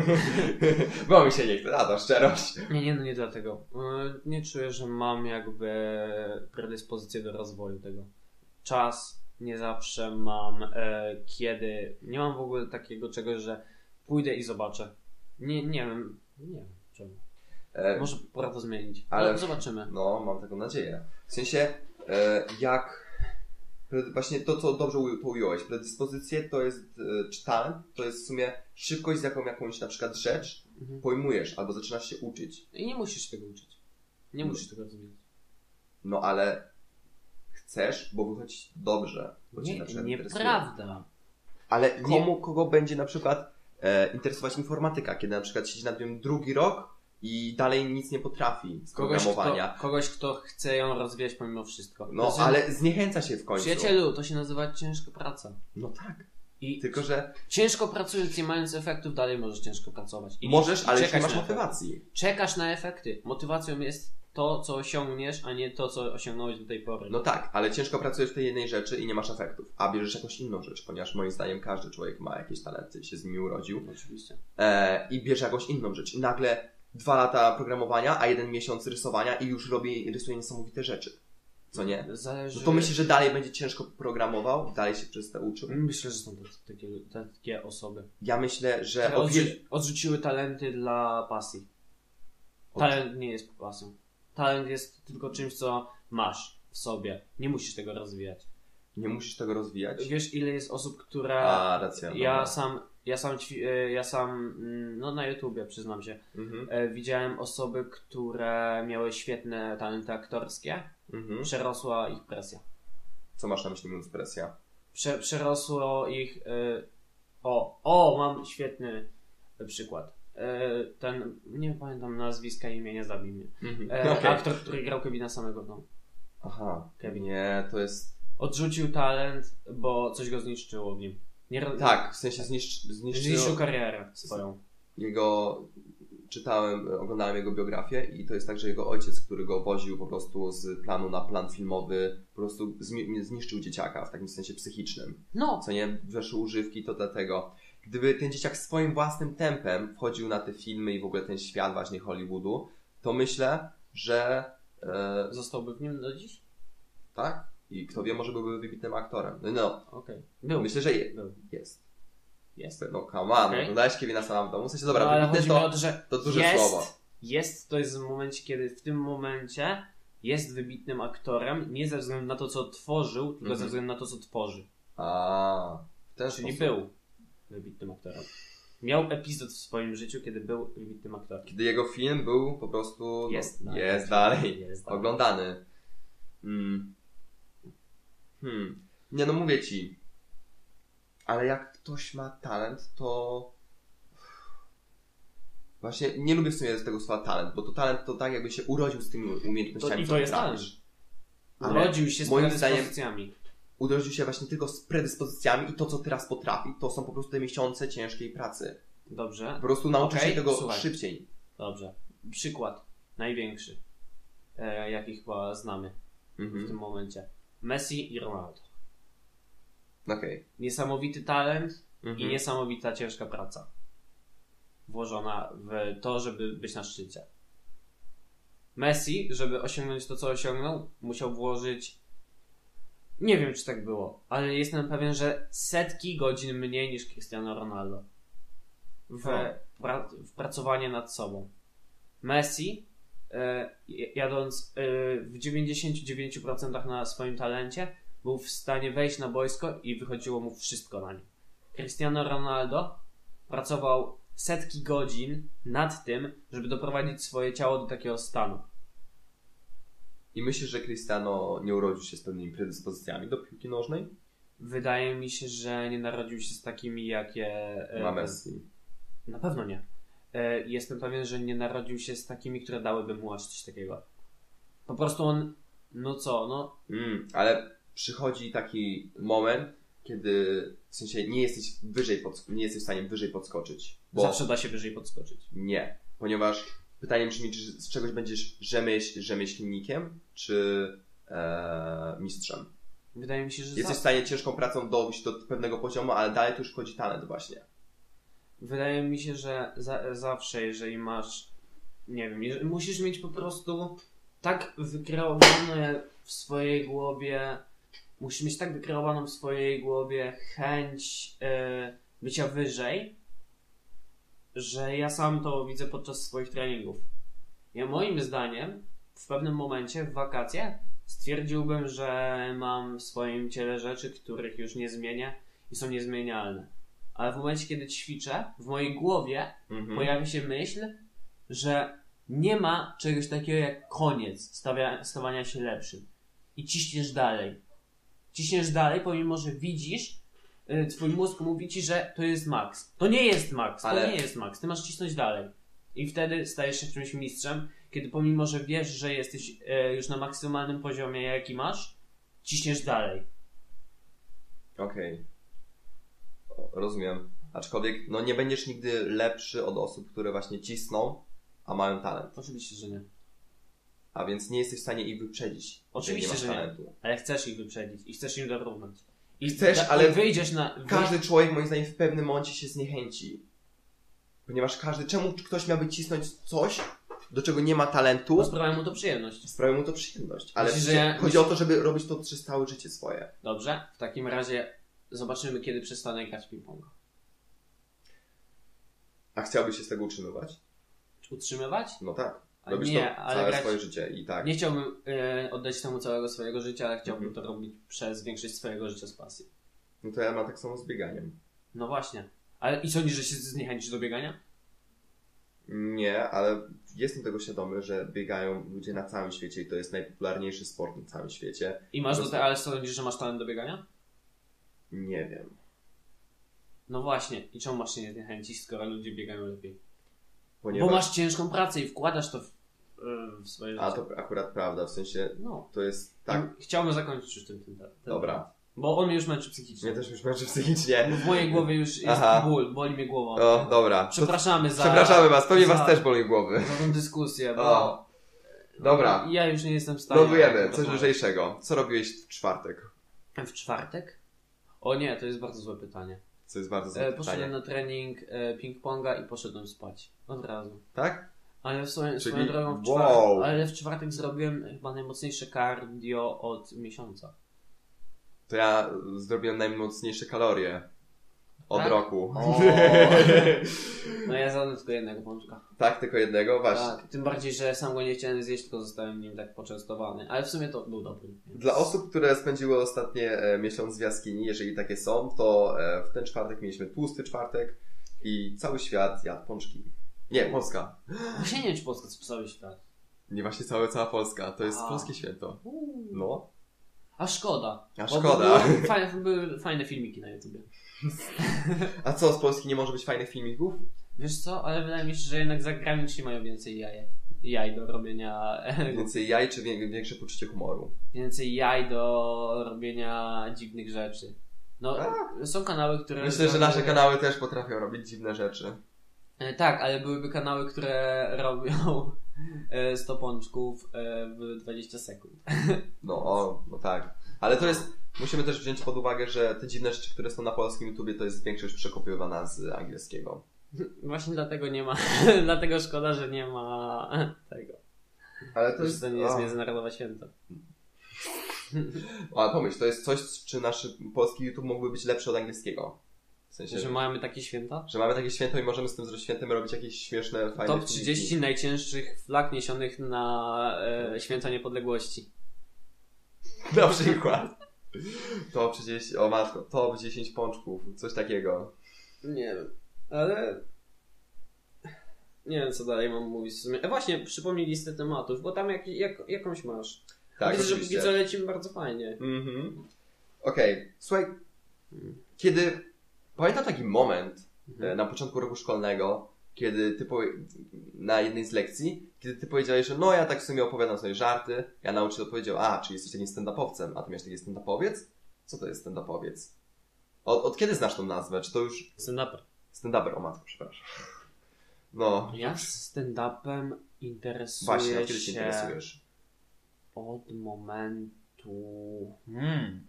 Bo mi się nie chce, a to szczerość.
Nie, nie no, nie dlatego. Yy, Nie czuję, że mam jakby predyspozycję do rozwoju tego. Czas nie zawsze mam, e, kiedy. Nie mam w ogóle takiego czegoś, że pójdę i zobaczę. Nie, nie wiem, nie wiem czemu.
E,
Może pora to zmienić.
ale-
Ale zobaczymy.
no, mam taką nadzieję. W sensie, e, jak... pre- Właśnie to, co dobrze u- to ująłeś. Predyspozycje to jest, e, czy talent, to jest w sumie szybkość, z jaką jakąś na przykład rzecz
Mhm.
pojmujesz albo zaczynasz się uczyć.
I nie musisz tego uczyć. Nie
No.
musisz tego rozumieć.
No, ale chcesz, bo wychodzi ci dobrze. Bo cię na
Nie,
przykład interesuje.
nieprawda.
Ale komu, kogo będzie na przykład e, interesować informatyka, kiedy na przykład siedzi nad nią drugi rok i dalej nic nie potrafi z
Kogoś kto,
programowania.
kogoś, kto chce ją rozwijać pomimo wszystko.
No,
Znaczy,
ale zniechęca się w końcu.
Przyjacielu, to się nazywa ciężka praca.
No tak.
I
Tylko, że
Ciężko pracując, nie mając efektów, dalej możesz ciężko pracować. I
możesz, ale już nie
czekać
masz
na efekty.
motywacji.
Czekasz na efekty. Motywacją jest to, co osiągniesz, a nie to, co osiągnąłeś do tej pory.
No tak, ale ciężko pracujesz w tej jednej rzeczy i nie masz efektów, a bierzesz jakąś inną rzecz, ponieważ moim zdaniem każdy człowiek ma jakieś talenty, się z nimi urodził
Oczywiście.
e, i bierze jakąś inną rzecz. I nagle dwa lata programowania, a jeden miesiąc rysowania i już robi, rysuje niesamowite rzeczy. Co nie?
Zależy...
No to myślisz, że dalej będzie ciężko programował, dalej się przez to uczył?
Myślę, że są te- takie, takie osoby,
Ja myślę, że
które
o wiele...
odrzu- odrzuciły talenty dla pasji. Talent nie jest pasją. Talent jest tylko czymś, co masz w sobie. Nie musisz tego rozwijać.
nie musisz tego rozwijać.
Wiesz, ile jest osób, które...
A, racja.
ja,
dobra.
sam, ja sam... ćwi- e, Ja sam... mm, No na YouTubie, przyznam się.
Mhm.
E, Widziałem osoby, które miały świetne talenty aktorskie.
Mhm.
Przerosła ich presja.
Co masz na myśli mówiąc presja?
Prze, przerosło ich. E, o, o, mam świetny przykład. E, ten, nie pamiętam nazwiska i imienia, zabij mnie.
Mhm.
E,
Okej.
Aktor, który grał Kevina samego no. w domu.
Aha,
Kevin.
nie, to jest...
Odrzucił talent, bo coś go zniszczyło w nim. Nie, ro-
Tak, w sensie zniszcz...
Zniszczył
zniszczył
karierę swoją.
jego... Czytałem, e, oglądałem jego biografię i to jest tak, że jego ojciec, który go woził po prostu z planu na plan filmowy, po prostu zmi- zniszczył dzieciaka w takim sensie psychicznym.
No,
co nie weszły używki, to dlatego. Gdyby ten dzieciak swoim własnym tempem wchodził na te filmy i w ogóle ten świat właśnie Hollywoodu, to myślę, że e,
zostałby w nim do dziś?
tak? I kto wie, może byłby wybitnym aktorem. No, no
Okej. Był.
myślę, że je,
Był.
jest.
Jest.
No come on,
Okej.
oglądałeś Kevina sama w domu? W sensie, dobra,
No, ale chodzi
wybitny
mi o
to,
to, że
to duże
jest,
słowo.
Jest, to jest w momencie, kiedy w tym momencie jest wybitnym aktorem, nie ze względu na to, co tworzył, tylko
Mhm.
ze względu na to, co tworzy.
A, w ten
Czyli
sposób.
był wybitnym aktorem. Miał epizod w swoim życiu, kiedy był wybitnym aktorem.
Kiedy jego film był po prostu...
Jest
no,
dalej.
Jest dalej.
Jest dalej.
oglądany. Hmm. Mm. Hmm. Nie no, mówię ci. ale jak ktoś ma talent, to. Właśnie nie lubię w sumie tego słowa talent, bo to talent to tak, jakby się urodził z tymi
To,
umiejętnościami.
I to
które
jest
masz.
talent.
Ale
Urodził się z
moim
moimi
zdaniem-
predyspozycjami.
Urodził się właśnie tylko z predyspozycjami i to, co teraz potrafi, to są po prostu te miesiące ciężkiej pracy. Po
Dobrze,
prostu nauczy
Okej,
się tego
słuchaj.
szybciej.
dobrze. Przykład największy, e, jaki chyba znamy w
Mhm.
tym momencie. Messi i Ronaldo.
Okej.
Niesamowity talent i
Mhm.
niesamowita ciężka praca włożona w to, żeby być na szczycie. Messi, żeby osiągnąć to, co osiągnął, musiał włożyć. Nie wiem, czy tak było, ale jestem pewien, że setki godzin mniej niż Cristiano Ronaldo w,
O.
pra, w pracowanie nad sobą. Messi, e, jadąc e, w 99% na swoim talencie, był w stanie wejść na boisko i wychodziło mu wszystko na nim. Cristiano Ronaldo pracował setki godzin nad tym, żeby doprowadzić swoje ciało do takiego stanu.
I myślisz, że Cristiano nie urodził się z pewnymi predyspozycjami do piłki nożnej?
Wydaje mi się, że nie narodził się z takimi, jakie. e,
Ma Messi.
Na pewno nie. E, Jestem pewien, że nie narodził się z takimi, które dałyby mu aż coś takiego. Po prostu on. No co, no.
Mm, ale przychodzi taki moment, kiedy w sensie nie jesteś wyżej, pod, nie jesteś w stanie wyżej podskoczyć. Bo
Zawsze da się wyżej podskoczyć.
nie. Ponieważ pytanie brzmi, czy z czegoś będziesz rzemieśl, rzemieślnikiem, czy e, mistrzem.
Wydaje mi się, że.
Jesteś w
Jesteś...
stanie ciężką pracą dojść do pewnego poziomu, ale dalej tu już wchodzi talent właśnie.
Wydaje mi się, że za, zawsze, jeżeli masz. Nie wiem, jeżeli, musisz mieć po prostu tak wykreowane w swojej głowie. Musisz mieć tak wykreowaną w swojej głowie chęć e, bycia wyżej, że ja sam to widzę podczas swoich treningów. Ja moim zdaniem w pewnym momencie w wakacje stwierdziłbym, że mam w swoim ciele rzeczy, których już nie zmienię i są niezmienialne. Ale w momencie, kiedy ćwiczę, w mojej głowie
Mhm.
pojawi się myśl, że nie ma czegoś takiego jak koniec stawia, stawania się lepszym. I ciśniesz dalej. Ciśniesz dalej, pomimo że widzisz, y, twój mózg mówi ci, że to jest maks. To nie jest maks,
Ale-
to nie jest maks. Ty masz cisnąć dalej. I wtedy stajesz się czymś mistrzem, kiedy pomimo, że wiesz, że jesteś y, już na maksymalnym poziomie, jaki masz, ciśniesz dalej.
Okej. O, Rozumiem. Aczkolwiek, no nie będziesz nigdy lepszy od osób, które właśnie cisną, a mają talent.
Oczywiście, że nie.
A więc nie jesteś w stanie ich wyprzedzić.
Oczywiście,
jeżeli
że
nie
nie.
masz talentu.
Ale chcesz ich wyprzedzić i chcesz im dorównać. I
Chcesz,
da-
ale
i wyjdziesz na.
Każdy człowiek, moim zdaniem, w pewnym momencie się zniechęci. Ponieważ każdy, czemu ktoś miałby cisnąć coś, do czego nie ma talentu,
Bo sprawia mu to przyjemność.
sprawia mu to przyjemność. Ale
No, Myślisz, że
przecież
ja-
chodzi o to, żeby robić to przez całe życie swoje.
Dobrze, w takim razie zobaczymy, kiedy przestanę grać w ping-ponga.
A chciałbyś się z tego utrzymywać?
Utrzymywać?
No tak.
A
Robisz
nie,
to
ale
całe
grać...
swoje życie i tak.
Nie chciałbym e, oddać temu całego swojego życia, ale chciałbym
Mhm.
to robić przez większość swojego życia z pasji.
No to ja mam tak samo z bieganiem.
No właśnie. Ale i sądzisz, że się zniechęcisz do biegania?
Nie, ale jestem tego świadomy, że biegają ludzie na całym świecie i to jest najpopularniejszy sport na całym świecie.
I masz do
Rozumiem.
tego, ale sądzisz, że masz talent do biegania?
Nie wiem.
No właśnie. I czemu masz się nie zniechęcić, skoro ludzie biegają lepiej?
Ponieważ...
Bo masz ciężką pracę i wkładasz to w, e, w swoje życie.
A to akurat prawda, w sensie
No.
to jest tak.
Chciałbym zakończyć już ten, ten, ten
Dobra.
Bo on mnie już męczy psychicznie.
Mnie też już męczy psychicznie.
W mojej głowie już jest
Aha.
ból, boli mnie głowa.
O, dobra. To-
Przepraszamy za,
Przepraszamy was, pewnie
za-
was też boli głowy.
za tą dyskusję, bo No,
O, dobra.
ja już nie jestem w stanie.
lądujemy, coś
To-
lżejszego. Co robiłeś w czwartek?
W czwartek? O nie, to jest bardzo złe pytanie.
Co jest bardzo złe
E, poszedłem
pytanie.
na trening e, ping-ponga i poszedłem spać. Od razu.
Tak?
Ale w swoją,
Czyli-
swoją drogą w
wow.
czwartek, ale w czwartek zrobiłem chyba najmocniejsze cardio od miesiąca.
To ja zrobiłem najmocniejsze kalorie. Od
Tak?
roku.
O. No ja zadam tylko jednego pączka.
tak, tylko jednego? Właśnie.
Tak, tym bardziej, że sam go nie chciałem zjeść, tylko zostałem nim tak poczęstowany. Ale w sumie to był dobry. więc-
Dla osób, które spędziły ostatnie e, miesiąc w jaskini, jeżeli takie są, to e, w ten czwartek mieliśmy tłusty czwartek i cały świat jadł pączki. Nie, Polska.
Właśnie nie wiem, czy Polska cały świat.
Nie właśnie całe, cała Polska. To jest
A.
polskie święto.
Uuu.
No.
A szkoda.
A
Bo
szkoda.
Były fajne, były fajne filmiki na YouTubie.
A co, z Polski nie może być fajnych filmików?
Wiesz co, ale wydaje mi się, że jednak zagraniczni mają więcej jaj, jaj do robienia,
Więcej jaj czy wie- większe poczucie humoru?
więcej jaj do robienia dziwnych rzeczy. No, są kanały, które...
Myślę, że nasze kanały też potrafią robić dziwne rzeczy.
E, Tak, ale byłyby kanały, które robią e, 100 pączków e, w 20 sekund.
No, o, no tak. Ale to jest, musimy też wziąć pod uwagę, że te dziwne rzeczy, które są na polskim YouTubie, to jest większość przekopiowana z angielskiego.
Właśnie dlatego nie ma, dlatego szkoda, że nie ma tego.
Ale
To, to nie jest
o.
międzynarodowe święto.
Ale pomyśl, to jest coś, czy nasz polski YouTube mógłby być lepszy od angielskiego. W sensie,
Że mamy takie święta?
że mamy takie święto i możemy z tym świętem robić jakieś śmieszne, fajne
Top 30 najcięższych flag niesionych na e, święto niepodległości.
filmiki. Na przykład. Top 30, o matko, top 10 pączków, coś takiego.
Nie wiem, ale. Nie wiem, co dalej mam mówić. w sumie. E, właśnie, przypomnij listę tematów, bo tam jak, jak, jakąś masz.
Tak,
Widzę, że
oczywiście.
póki co lecimy bardzo fajnie.
Mhm. Okej, słuchaj, kiedy... Pamiętam taki moment
Mhm.
e, na początku roku szkolnego, kiedy ty powie... na jednej z lekcji, kiedy ty powiedziałeś, że no ja tak w sumie opowiadam sobie żarty, ja nauczyciel powiedział, a, czyli jesteś takim stand-upowcem, a ty miałeś taki stand-upowiec? Co to jest stand-upowiec? Od, od kiedy znasz tą nazwę? Czy to już
Stand-up.
stand-uper? O matko, przepraszam. No,
Ja stand-upem interesuję
właśnie, od
się,
kiedy się interesujesz?
od momentu... Hmm.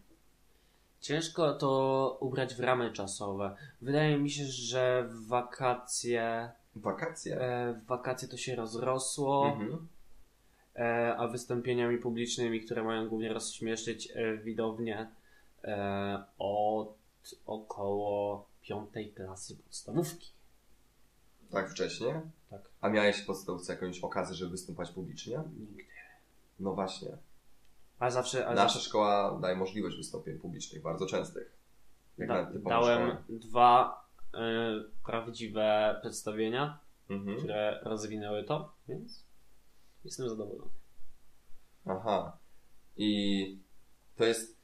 Ciężko to ubrać w ramy czasowe. Wydaje mi się, że w wakacje,
Wakacje?
e, w wakacje to się rozrosło,
Mhm.
e, a wystąpieniami publicznymi, które mają głównie rozśmieszyć e, widownię e, od około piątej klasy podstawówki.
Tak wcześnie?
Tak,
A miałeś w podstawce jakąś okazję, żeby występować publicznie?
nigdy.
No właśnie.
A zawsze... A zawsze
Nasza szkoła daje możliwość wystąpień publicznych, bardzo częstych. Jak
Da,
na typową
Tak, dałem
szkołę.
dwa y, prawdziwe przedstawienia,
Mhm.
które rozwinęły to, więc jestem zadowolony.
Aha. I to jest.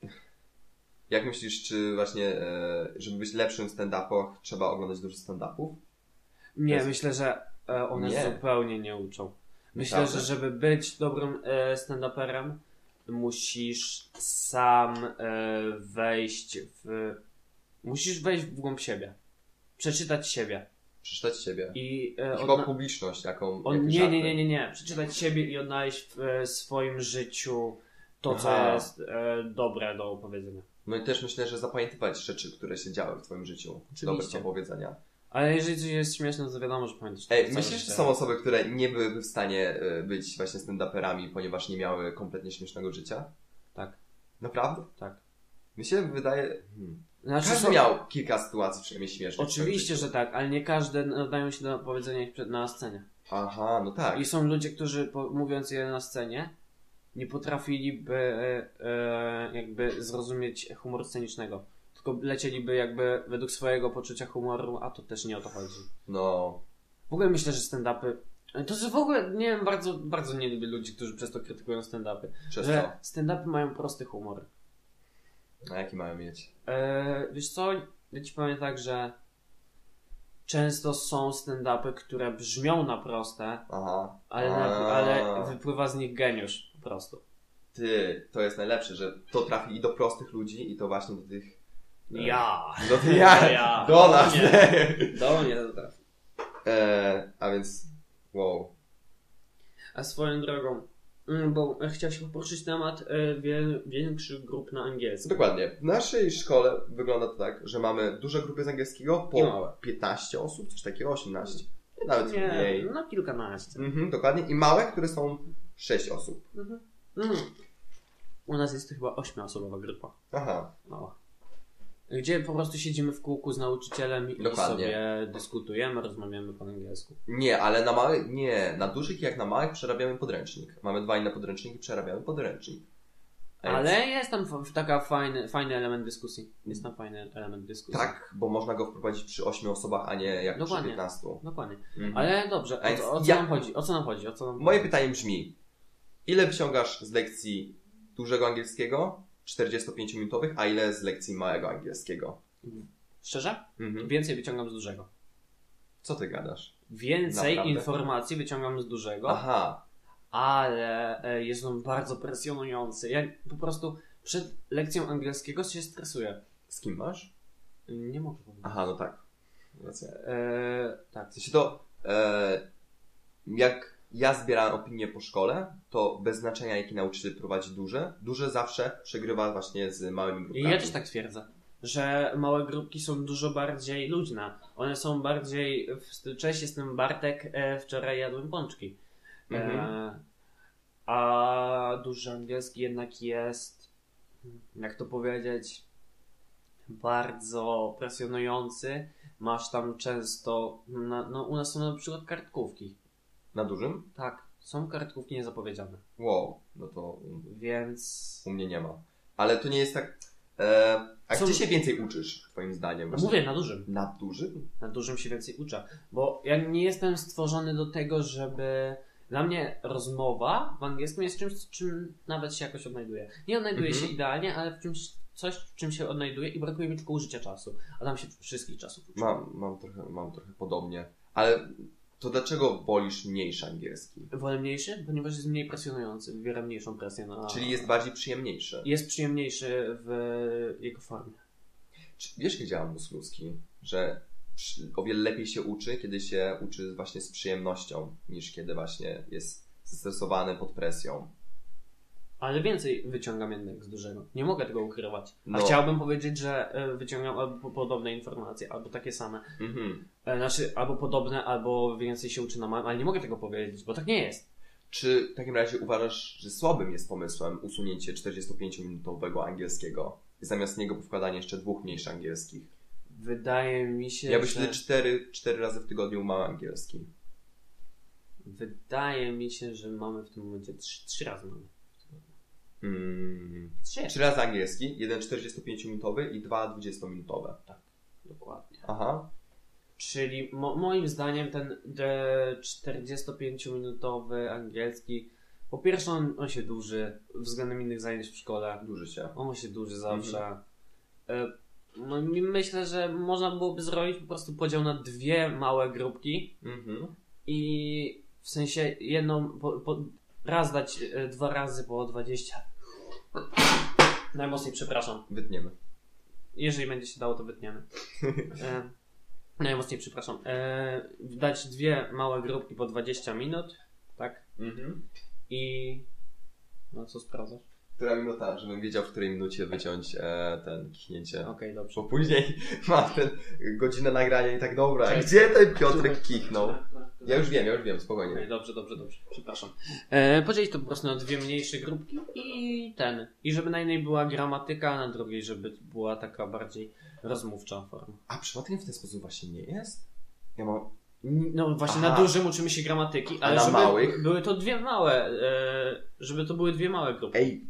Jak myślisz, czy właśnie, e, żeby być lepszym w stand-upach, trzeba oglądać dużo stand-upów?
Nie,
Jest-
myślę, że e, one
Nie.
zupełnie nie uczą. Myślę,
Naprawdę?
że żeby być dobrym e, stand-uperem, musisz sam e, wejść w. Musisz wejść w głąb siebie. Przeczytać siebie.
Przeczytać siebie.
I
I
e,
chyba
odna-
publiczność, jaką.
On,
jakie
nie,
żarty.
nie, nie, nie, nie. Przeczytać siebie i odnaleźć w e, swoim życiu to, co
Aha.
jest e, dobre do opowiedzenia.
No i też myślę, że zapamiętywać rzeczy, które się działy w Twoim życiu. Dobre
Oczywiście.
do powiedzenia.
Ale jeżeli coś jest śmieszne, to wiadomo, że pamiętasz.
Ej,
całe
myślisz, że
życie.
są osoby, które nie byłyby w stanie e, być właśnie stand-uperami, ponieważ nie miały kompletnie śmiesznego życia?
Tak,
Naprawdę?
tak.
Mi się wydaje. Hmm.
Znaczy,
Każdy
są-
miał kilka sytuacji przynajmniej śmiesznych. w swoim
Oczywiście,
życiu.
że tak, ale nie każde nadają się do powiedzenia ich przed, na scenie.
Aha, no tak.
I są ludzie, którzy po, mówiąc je na scenie, nie potrafiliby e, jakby zrozumieć humoru scenicznego. Tylko lecieliby jakby według swojego poczucia humoru, a to też nie o to chodzi.
No.
W ogóle myślę, że stand-upy. e, To że w ogóle nie wiem, bardzo, bardzo nie lubię ludzi, którzy przez to krytykują stand-upy.
Przez co?
Że stand-upy mają prosty humor.
A jaki mają mieć?
Eee, wiesz co, ja ci powiem tak, że często są stand-upy, które brzmią na proste,
Aha.
ale, na,
A.
ale wypływa z nich geniusz po prostu.
Ty, to jest najlepsze, że to trafi i do prostych ludzi, i to właśnie do tych. e,
Ja!
Do tych ja!
Ja.
Do nas!
Nie. Do mnie to trafi.
E, a więc. Wow.
A swoją drogą, mm, bo chciałeś poruszyć temat e, wie- większych grup na angielski.
Dokładnie. W naszej szkole wygląda to tak, że mamy duże grupy z angielskiego
I
po
małe.
15 osób, coś takiego, 18. Nawet
Nie,
mniej.
no kilkanaście.
Mhm, dokładnie. I małe, które są 6 osób.
Mhm. Mm. U nas jest to chyba ośmioosobowa grupa.
Aha.
Mała. Gdzie po prostu siedzimy w kółku z nauczycielem i
Dokładnie.
sobie dyskutujemy, rozmawiamy po angielsku.
Nie, ale na małych, nie, na dużych jak na małych przerabiamy podręcznik. Mamy dwa inne podręczniki, przerabiamy podręcznik. A więc-
Ale jest tam f- taka fajny, fajny element dyskusji. Jest tam fajny element dyskusji.
Tak, bo można go wprowadzić przy 8 osobach, a nie jak
Dokładnie.
przy 15.
Dokładnie.
Mhm.
Ale dobrze,
A
o,
więc
co- o co
ja-
nam chodzi? O co nam chodzi? O co nam...
Moje pytanie brzmi: ile wyciągasz z lekcji dużego angielskiego, 45-minutowych, a ile z lekcji małego angielskiego?
Szczerze?
Mhm.
Więcej wyciągam z dużego.
Co ty gadasz?
Więcej
Naprawdę?
informacji wyciągam z dużego,
Aha,
ale e, jest on bardzo presjonujący. Ja po prostu przed lekcją angielskiego się stresuję.
z kim masz?
Nie mogę powiedzieć.
Aha, no tak. Racja.
E, tak.
W sensie to, e, jak ja zbierałem opinie po szkole, to bez znaczenia jaki nauczyciel prowadzi duże, duże zawsze przegrywa właśnie z małymi
I
grupami.
ja też tak twierdzę, że małe grupki są dużo bardziej luźne. One są bardziej. w stylu, Cześć, jestem Bartek, e, wczoraj jadłem pączki.
Mhm.
E, a duży angielski jednak jest, jak to powiedzieć, bardzo presjonujący. Masz tam często, na, no u nas są na przykład kartkówki.
Na dużym?
Tak, są kartkówki niezapowiedziane,
Wow, no to u,
więc
u mnie nie ma. Ale to nie jest tak... E, a
Są-
gdzie się więcej uczysz, twoim zdaniem? Właśnie
mówię na dużym.
Na dużym?
na dużym się więcej uczę. Bo ja nie jestem stworzony do tego, żeby. Dla mnie rozmowa w angielskim jest czymś, w czym nawet się jakoś odnajduję. Nie odnajduję
Mhm.
się idealnie, ale w czymś, coś, w czym się odnajduję i brakuje mi tylko użycia czasu. A tam się wszystkich czasów uczy.
Mam, mam, trochę, mam trochę podobnie. Ale to dlaczego wolisz mniejszy angielski?
Wolę mniejszy, ponieważ jest mniej presjonujący, wywiera mniejszą presję na.
Czyli jest bardziej przyjemniejszy.
Jest przyjemniejszy w jego formie.
Czy wiesz, gdzie działa mózg ludzki? Że przy- o wiele lepiej się uczy, kiedy się uczy właśnie z przyjemnością, niż kiedy właśnie jest zestresowany pod presją.
Ale więcej wyciągam jednak z dużego. Nie mogę tego ukrywać. A
No.
chciałbym powiedzieć, że e, wyciągam albo podobne informacje, albo takie same.
Mhm.
E, Znaczy, albo podobne, albo więcej się uczy na małym, ale nie mogę tego powiedzieć, bo tak nie jest.
Czy w takim razie uważasz, że słabym jest pomysłem usunięcie 45-minutowego angielskiego i zamiast niego powkładanie jeszcze dwóch mniejszych angielskich?
Wydaje mi się,
Ja byś
że...
wtedy cztery, cztery razy w tygodniu mały angielski.
Wydaje mi się, że mamy w tym momencie trzy, trzy razy mamy.
Mm.
Trzy.
Trzy razy angielski, jeden 45-minutowy i dwa 20-minutowe.
Dokładnie.
Aha.
Czyli mo moim zdaniem ten e, 45-minutowy angielski, po pierwsze on, on się duży względem innych zajęć w szkole.
Duży się.
On się duży zawsze. E, no i myślę, że można byłoby zrobić po prostu podział na dwie małe grupki.
Mhm.
i w sensie jedną po, po, raz dać e, dwa razy po 20. Najmocniej przepraszam.
Wytniemy.
Jeżeli będzie się dało, to wytniemy. E, najmocniej przepraszam. E, dać dwie małe grupki po 20 minut, tak?
Mhm.
I. No co sprawdzasz?
Która minuta, żebym wiedział, w której minucie wyciąć e, ten kichnięcie.
Okej, dobrze.
Bo później mam ten godzinę nagrania i tak dobra.
Cześć.
Gdzie ten Piotrek kichnął? Ja już wiem, ja już wiem,
Okej,
spokojnie.
dobrze, dobrze, dobrze. Przepraszam. E, podzielić to po prostu na dwie mniejsze grupki i ten. I żeby na jednej była gramatyka, a na drugiej, żeby była taka bardziej rozmówcza forma.
A przypadkiem w ten sposób właśnie nie jest? Ja mam.
No właśnie
Aha.
na dużym uczymy się gramatyki,
A
ale
na
żeby
małych?
były to dwie małe, e, żeby to były dwie małe grupy.
Ej!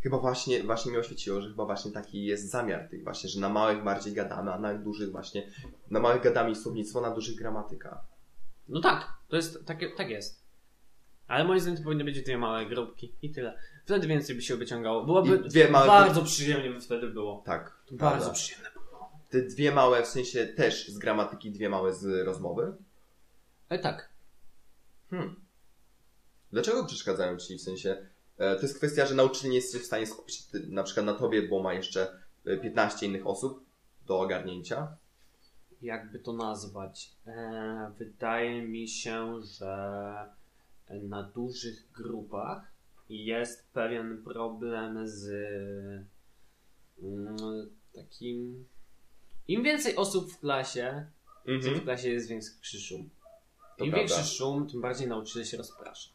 Chyba właśnie, właśnie mi oświeciło, że chyba właśnie taki jest zamiar tych właśnie, że na małych bardziej gadamy, a na dużych właśnie, na małych gadami słownictwo, na dużych gramatyka.
No tak, to jest, tak, tak jest. Ale moim zdaniem to powinny być dwie małe grupki i tyle. Wtedy więcej by się wyciągało. Byłoby
I dwie małe
bardzo przyjemnie by wtedy było.
Tak. to
Bardzo
prawda.
przyjemne.
Te dwie małe, w sensie też z gramatyki, dwie małe z rozmowy?
E, tak.
Hmm. Dlaczego przeszkadzają ci? W sensie, e, to jest kwestia, że nauczyciel nie jest w stanie skupić się ty- na przykład na tobie, bo ma jeszcze e, 15 innych osób do ogarnięcia.
Jakby to nazwać? E, wydaje mi się, że na dużych grupach jest pewien problem z mm, takim. Im więcej osób w klasie,
Mhm.
tym w klasie jest większy szum.
To
Im
prawda. No,
większy szum, tym bardziej nauczyciel się rozprasza.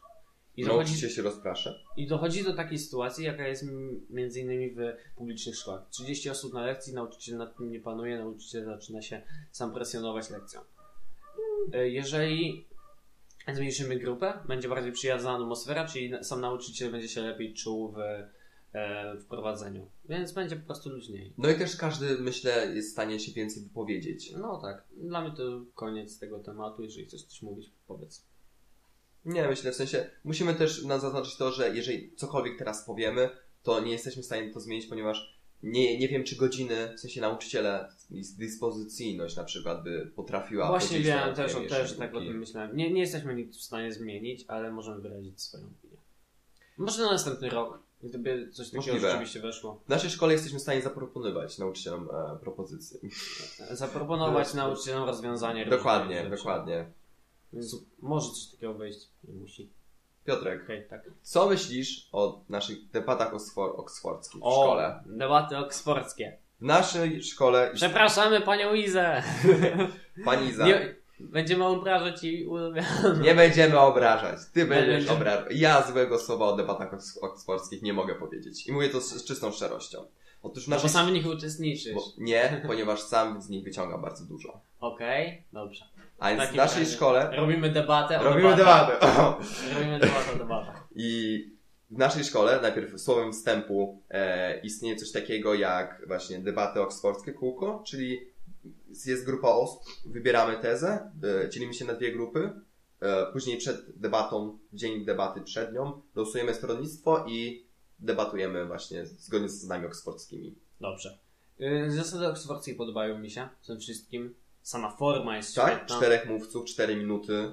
I
I
dochodzi,
nauczyciel się rozprasza.
I dochodzi do takiej sytuacji, jaka jest m- między innymi w publicznych szkołach. 30 osób na lekcji, nauczyciel nad tym nie panuje, nauczyciel zaczyna się sam presjonować lekcją. E, Jeżeli zmniejszymy grupę, będzie bardziej przyjazna atmosfera, czyli na- sam nauczyciel będzie się lepiej czuł w e, w prowadzeniu, więc będzie po prostu luźniej.
No i też każdy, myślę, jest w stanie się więcej wypowiedzieć.
No tak, dla mnie to koniec tego tematu, jeżeli chcesz coś mówić, powiedz.
Nie, myślę, w sensie, musimy też na- zaznaczyć to, że jeżeli cokolwiek teraz powiemy, to nie jesteśmy w stanie to zmienić, ponieważ nie, nie wiem, czy godziny, w sensie nauczyciele, dys- dyspozycyjność na przykład by potrafiła
Właśnie
podzielić na
wiem, też, o-
mniejsze
też tak o
grupki.
tym myślałem. Nie, nie jesteśmy nic w stanie zmienić, ale możemy wyrazić swoją opinię. Może na następny rok, gdyby coś takiego
Możliwe.
rzeczywiście weszło.
W naszej szkole jesteśmy w stanie zaproponować nauczycielom e, propozycje.
Zaproponować nauczycielom rozwiązanie. różnych
No, Dokładnie,
rzeczy.
dokładnie.
Więc może coś takiego wejść. Nie musi.
Piotrek,
Okej, tak.
co myślisz o naszych debatach oksfor- oksfordzkich w szkole?
debaty oksfordzkie.
W naszej szkole
Przepraszamy panią Izę.
pani Iza, nie,
Nie, będziemy obrażać jej ulubioną.
będziemy obrażać. Ty będziesz
będziemy.
obrażał. Ja złego słowa o debatach oks- oksfordzkich nie mogę powiedzieć. I mówię to z, z czystą szczerością. Otóż w
No bo
naszej...
sam w nich uczestniczysz.
Znaczy bo- nie, ponieważ sam z nich wyciągam bardzo dużo.
Okej, dobrze.
A więc w
takim
naszej
razie
szkole
Robimy debatę o
robimy
debatach.
debatę.
Robimy debatę o debatach.
I w naszej szkole, najpierw słowem wstępu, e, istnieje coś takiego jak właśnie debaty oksfordzkie kółko, czyli jest grupa osób, wybieramy tezę, e, dzielimy się na dwie grupy, e, później przed debatą, w dzień debaty przed nią, losujemy stronnictwo i debatujemy właśnie zgodnie z znami oksfordzkimi.
Dobrze. Y, Zasady oksfordzkie podobają mi się tym wszystkim. Sama forma jest
Tak?
świetna.
Czterech mówców, cztery minuty.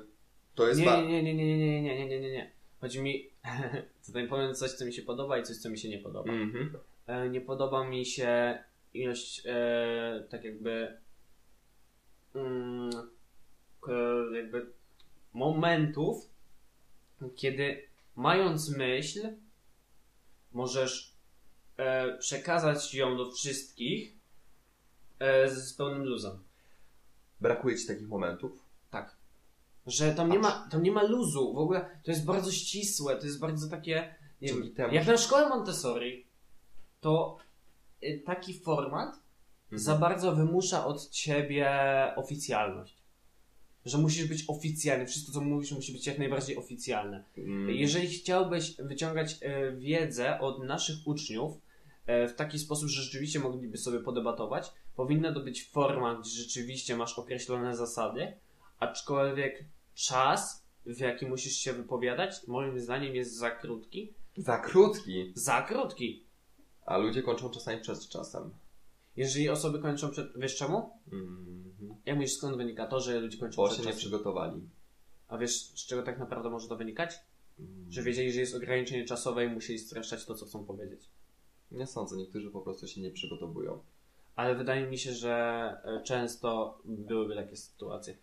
To jest... ba-
Nie, nie, nie, nie, nie, nie, nie, nie, nie, nie, nie. Chodzi mi, tutaj powiem coś, co mi się podoba i coś, co mi się nie podoba.
Mhm.
E, Nie podoba mi się ilość, e, tak jakby, mm, k- jakby momentów, kiedy mając myśl, możesz e, przekazać ją do wszystkich e, z pełnym luzem.
Brakuje ci takich momentów?
Tak. Że tam nie, ma, tam nie ma luzu. W ogóle to jest bardzo ścisłe, to jest bardzo takie. Nie
Dzięki
wiem,
temu,
jak
że-
na szkole Montessori, to y, taki format Mhm. za bardzo wymusza od ciebie oficjalność. Że musisz być oficjalny, wszystko co mówisz musi być jak najbardziej oficjalne.
Mm.
Jeżeli chciałbyś wyciągać e, wiedzę od naszych uczniów e, w taki sposób, że rzeczywiście mogliby sobie podebatować, powinna to być forma, gdzie rzeczywiście masz określone zasady, aczkolwiek czas, w jaki musisz się wypowiadać, moim zdaniem jest za krótki.
Za krótki,
Za krótki!
a ludzie kończą czasami przed czasem.
Jeżeli osoby kończą przed... Wiesz czemu?
Mhm.
Jak myślisz, skąd wynika to, że ludzie kończą
Bo
przed
się nie
czasem?
przygotowali.
A wiesz, z czego tak naprawdę może to wynikać?
Mhm.
Że wiedzieli, że jest ograniczenie czasowe i musieli streszczać to, co chcą powiedzieć.
Nie sądzę, niektórzy po prostu się nie przygotowują.
Ale wydaje mi się, że e, często byłyby takie sytuacje.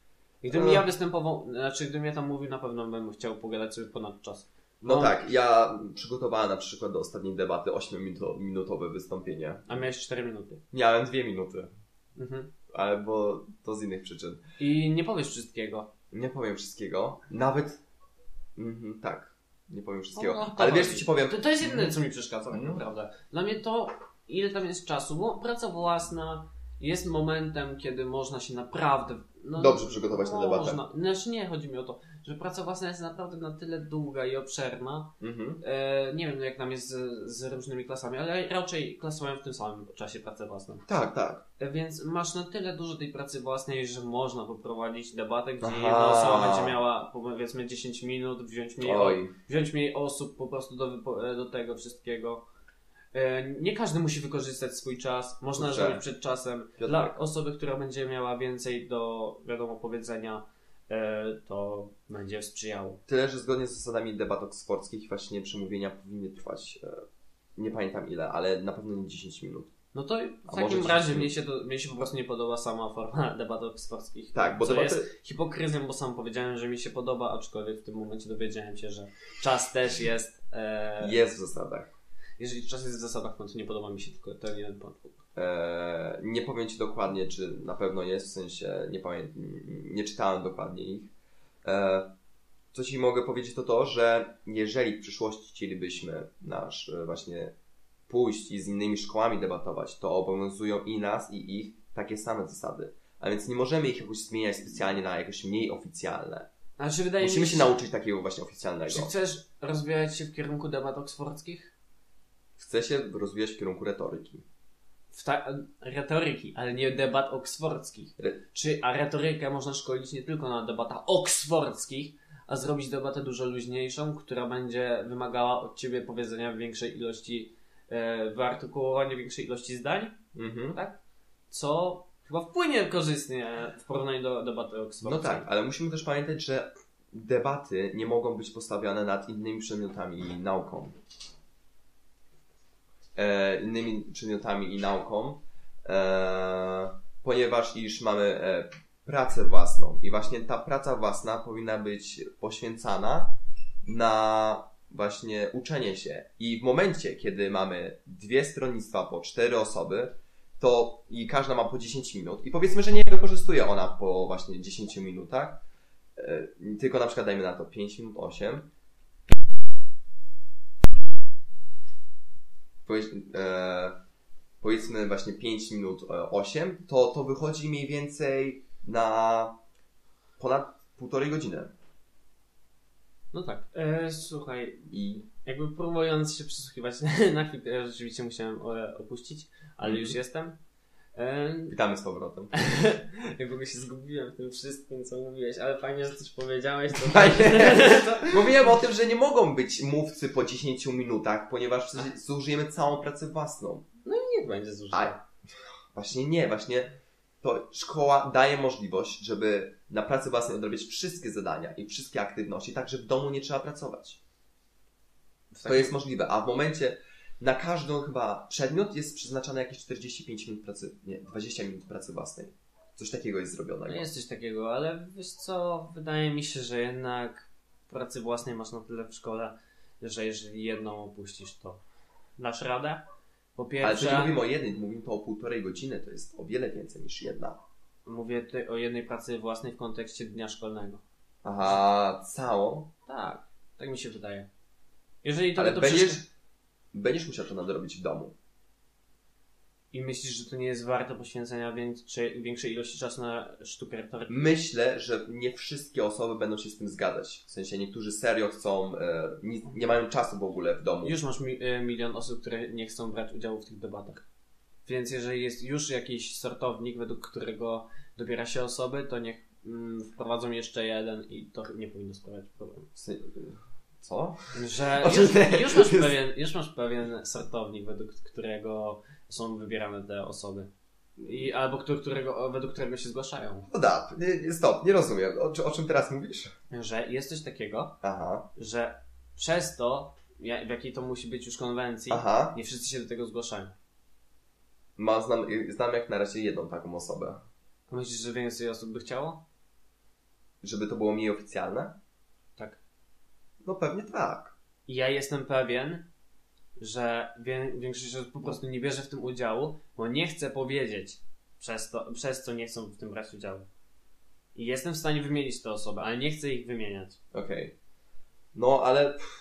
Gdybym
E.
ja występował, znaczy gdybym ja tam mówił, na pewno bym chciał pogadać sobie ponad czas.
No,
No.
tak, ja przygotowałem na przykład do ostatniej debaty 8-minutowe wystąpienie.
A miałeś 4 minuty.
Miałem 2 minuty,
Mhm.
ale bo to z innych przyczyn.
I nie powiesz wszystkiego.
Nie powiem wszystkiego, nawet... Mhm, tak, nie powiem wszystkiego.
O, no, to
ale wiesz, co
chodzi.
ci powiem?
To, to jest jedyne, co mi przeszkadza tak
No.
naprawdę. Dla mnie to, ile tam jest czasu, bo praca własna jest momentem, kiedy można się naprawdę... No,
Dobrze przygotować na debatę.
Można. Znaczy nie, chodzi mi o to, że praca własna jest naprawdę na tyle długa i obszerna,
Mhm.
E, nie wiem jak tam jest z, z różnymi klasami, ale raczej klasy mają w tym samym czasie pracę własną.
Tak, tak.
E, Więc masz na tyle dużo tej pracy własnej, że można poprowadzić debatę, gdzie
Aha.
jedna osoba będzie miała powiedzmy 10 minut, wziąć mniej, o,
Oj,
wziąć mniej osób po prostu do, wypo- e, do tego wszystkiego. E, Nie każdy musi wykorzystać swój czas, można
Dobrze.
zrobić przed czasem.
Tak. Piotrek.
Dla osoby, która będzie miała więcej do wiadomo powiedzenia, e, to będzie sprzyjało.
Tyle, że zgodnie z zasadami debat oksfordzkich właśnie przemówienia powinny trwać, e, nie pamiętam ile, ale na pewno nie 10 minut.
No to w
A może
takim
ci-
razie mnie się, to, mnie się po prostu nie podoba sama forma debat oksfordzkich.
Tak, bo
co
debaty...
jest hipokryzją, bo sam powiedziałem, że mi się podoba, aczkolwiek w tym momencie dowiedziałem się, że czas też jest. E,
Jest w zasadach.
Jeżeli czas jest w zasadach, no to nie podoba mi się tylko ten jeden punkt.
Eee, nie powiem Ci dokładnie, czy na pewno jest, w sensie nie pamiętam, nie czytałem dokładnie ich. Eee, co Ci mogę powiedzieć to to, że jeżeli w przyszłości chcielibyśmy nasz e, właśnie pójść i z innymi szkołami debatować, to obowiązują i nas, i ich takie same zasady. A więc nie możemy ich jakoś zmieniać specjalnie na jakoś mniej oficjalne.
Znaczy, wydaje
Musimy
mi
się nauczyć takiego właśnie oficjalnego.
Czy chcesz rozwijać się w kierunku debat oksfordzkich?
Chcę się rozwijać w kierunku retoryki.
W ta- retoryki, ale nie debat oksfordzkich.
Re-
Czy, a retorykę można szkolić nie tylko na debatach oksfordzkich, a zrobić debatę dużo luźniejszą, która będzie wymagała od ciebie powiedzenia większej ilości e, wyartykułowanie większej ilości zdań,
Mhm.
co chyba wpłynie korzystnie w porównaniu do debaty
No
oksfordzkiej.
tak, ale musimy też pamiętać, że debaty nie mogą być postawiane nad innymi przedmiotami i nauką. E, innymi przedmiotami i nauką, e, ponieważ iż mamy e, pracę własną i właśnie ta praca własna powinna być poświęcana na właśnie uczenie się. I w momencie, kiedy mamy dwie stronnictwa po cztery osoby, to i każda ma po 10 minut i powiedzmy, że nie wykorzystuje ona po właśnie 10 minutach, e, tylko na przykład dajmy na to 5 minut, 8. Powiedz, e, powiedzmy właśnie 5 minut, e, 8, to to wychodzi mniej więcej na ponad półtorej godziny.
No tak. E, słuchaj,
I
jakby próbując się przysłuchiwać na chwilkę, rzeczywiście musiałem e, opuścić, ale
Mhm.
już jestem. E,
witamy z powrotem.
jak w ogóle się zgubiłem w tym wszystkim, co mówiłeś, ale fajnie, że coś powiedziałeś,
Tak
to
Mówiłem o tym, że nie mogą być mówcy po 10 minutach, ponieważ przecież zużyjemy całą pracę własną.
niech będzie zużyte.
A właśnie nie, właśnie to szkoła daje możliwość, żeby na pracy własnej odrabiać wszystkie zadania i wszystkie aktywności, tak, że w domu nie trzeba pracować. To jest możliwe, a w momencie na każdą chyba przedmiot jest przeznaczane jakieś 45 minut pracy, nie, 20 minut pracy własnej. Coś takiego jest
No
zrobionego.
jest coś takiego, ale wiesz co, wydaje mi się, że jednak pracy własnej masz na tyle w szkole, że jeżeli jedną opuścisz, to dasz radę. Po
Ale to
pierwsze,
nie mówimy o jednej, mówimy to o półtorej godziny, to jest o wiele więcej niż jedna.
mówię tutaj o jednej pracy własnej w kontekście dnia szkolnego.
Aha, całą?
Tak, tak mi się wydaje. Jeżeli to,
Ale
to
będziesz,
wszystko-
będziesz musiał to nadrobić w domu.
i myślisz, że to nie jest warte poświęcenia większej, większej ilości czasu na sztukę retoryczną,
Myślę, że nie wszystkie osoby będą się z tym zgadzać. W sensie niektórzy serio chcą, e, nie, nie mają czasu w ogóle w domu.
już masz mi, e, milion osób, które nie chcą brać udziału w tych debatach. Więc jeżeli jest już jakiś sortownik, według którego dobiera się osoby, to niech mm, wprowadzą jeszcze jeden i to nie powinno sprawiać problemu.
W sen- Co?
Że
O,
już,
nie.
już, masz pewien, już masz pewien sortownik, według którego są wybierane te osoby. I, albo któ- którego, według którego się zgłaszają.
No da, nie, nie, stop, nie rozumiem. O, czy- o czym teraz mówisz?
Że jest coś takiego,
Aha,
że przez to, ja- w jakiej to musi być już konwencji,
aha.
nie wszyscy się do tego zgłaszają.
Ma, znam, y, znam jak na razie jedną taką osobę.
A Myślisz, że więcej osób by chciało?
Żeby to było mniej oficjalne?
Tak.
No pewnie tak.
I ja jestem pewien, że wie, większość osób po prostu nie bierze w tym udziału, bo nie chce powiedzieć, przez, to, przez co nie chcą w tym brać udziału. I jestem w stanie wymienić te osoby, ale nie chcę ich wymieniać.
Okej. No ale pff,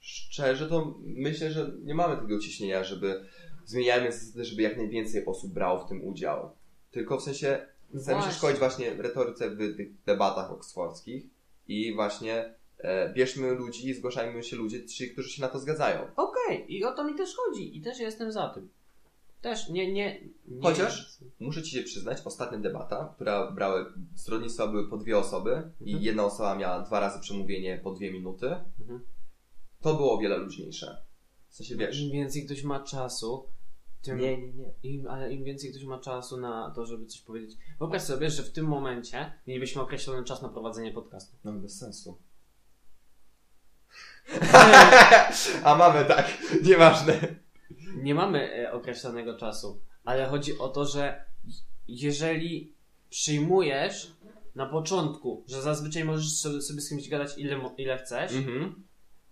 szczerze to myślę, że nie mamy tego ciśnienia, żeby zmieniajmy zasady, żeby jak najwięcej osób brało w tym udział. Tylko w sensie Chcemy się szkolić właśnie w retoryce w tych debatach oksfordzkich i właśnie e, bierzmy ludzi i zgłaszajmy się ludzi, ci, którzy się na to zgadzają.
Okej, i o to mi też chodzi. I też jestem za tym. Też nie, nie. nie
Chociaż- Muszę Ci się przyznać, ostatnia debata, która brały, stronnictwa były po dwie osoby i
Mhm.
jedna osoba miała dwa razy przemówienie po dwie minuty,
Mhm.
to było o wiele luźniejsze. W sensie wiesz,
Im więcej ktoś ma czasu, tym.
Nie, nie, nie.
Im, ale im więcej ktoś ma czasu na to, żeby coś powiedzieć. Wyobraź sobie, że w tym momencie mielibyśmy określony czas na prowadzenie podcastu.
No bez sensu. A mamy tak, nieważne.
Nie mamy e, określonego czasu, ale chodzi o to, że jeżeli przyjmujesz na początku, że zazwyczaj możesz so- sobie z kimś gadać ile, mo- ile chcesz,
Mhm.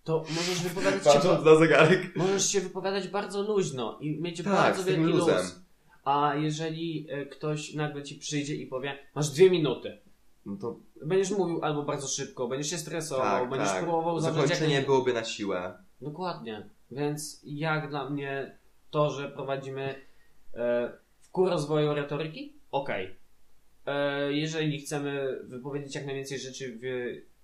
to możesz wypowiadać się,
Patrząc na zegarek.
możesz się wypowiadać bardzo luźno i mieć
Tak,
bardzo
z tym
wielki
luzem.
luz. A jeżeli e, ktoś nagle ci przyjdzie i powie, masz dwie minuty,
No to
Będziesz mówił albo bardzo szybko, będziesz się stresował,
tak,
będziesz
tak.
próbował zawrzeć
Zakończenie
jakieś-
byłoby na siłę.
Dokładnie. Więc jak dla mnie to, że prowadzimy e, w ku rozwoju retoryki? Okej. E, Jeżeli chcemy wypowiedzieć jak najwięcej rzeczy w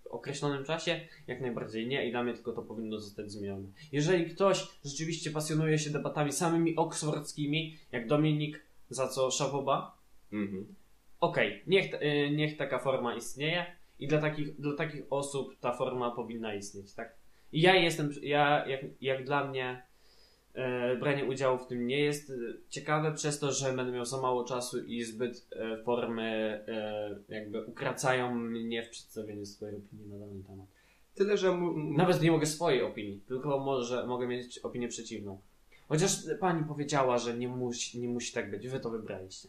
określonym czasie, jak najbardziej nie i dla mnie tylko to powinno zostać zmienione. Jeżeli ktoś rzeczywiście pasjonuje się debatami samymi oksfordzkimi, jak Dominik, za co szapoba,
Mhm.
Okej, niech, t- y, niech taka forma istnieje i dla takich, dla takich osób ta forma powinna istnieć, tak? I ja jestem, ja, jak, jak dla mnie, e, branie udziału w tym nie jest e, ciekawe, przez to, że będę miał za mało czasu i zbyt e, formy e, jakby ukracają mnie w przedstawieniu swojej opinii na dany temat.
Tyle, że mu...
Nawet nie mogę swojej opinii, tylko może mogę mieć opinię przeciwną. Chociaż pani powiedziała, że nie musi, nie musi tak być, wy to wybraliście.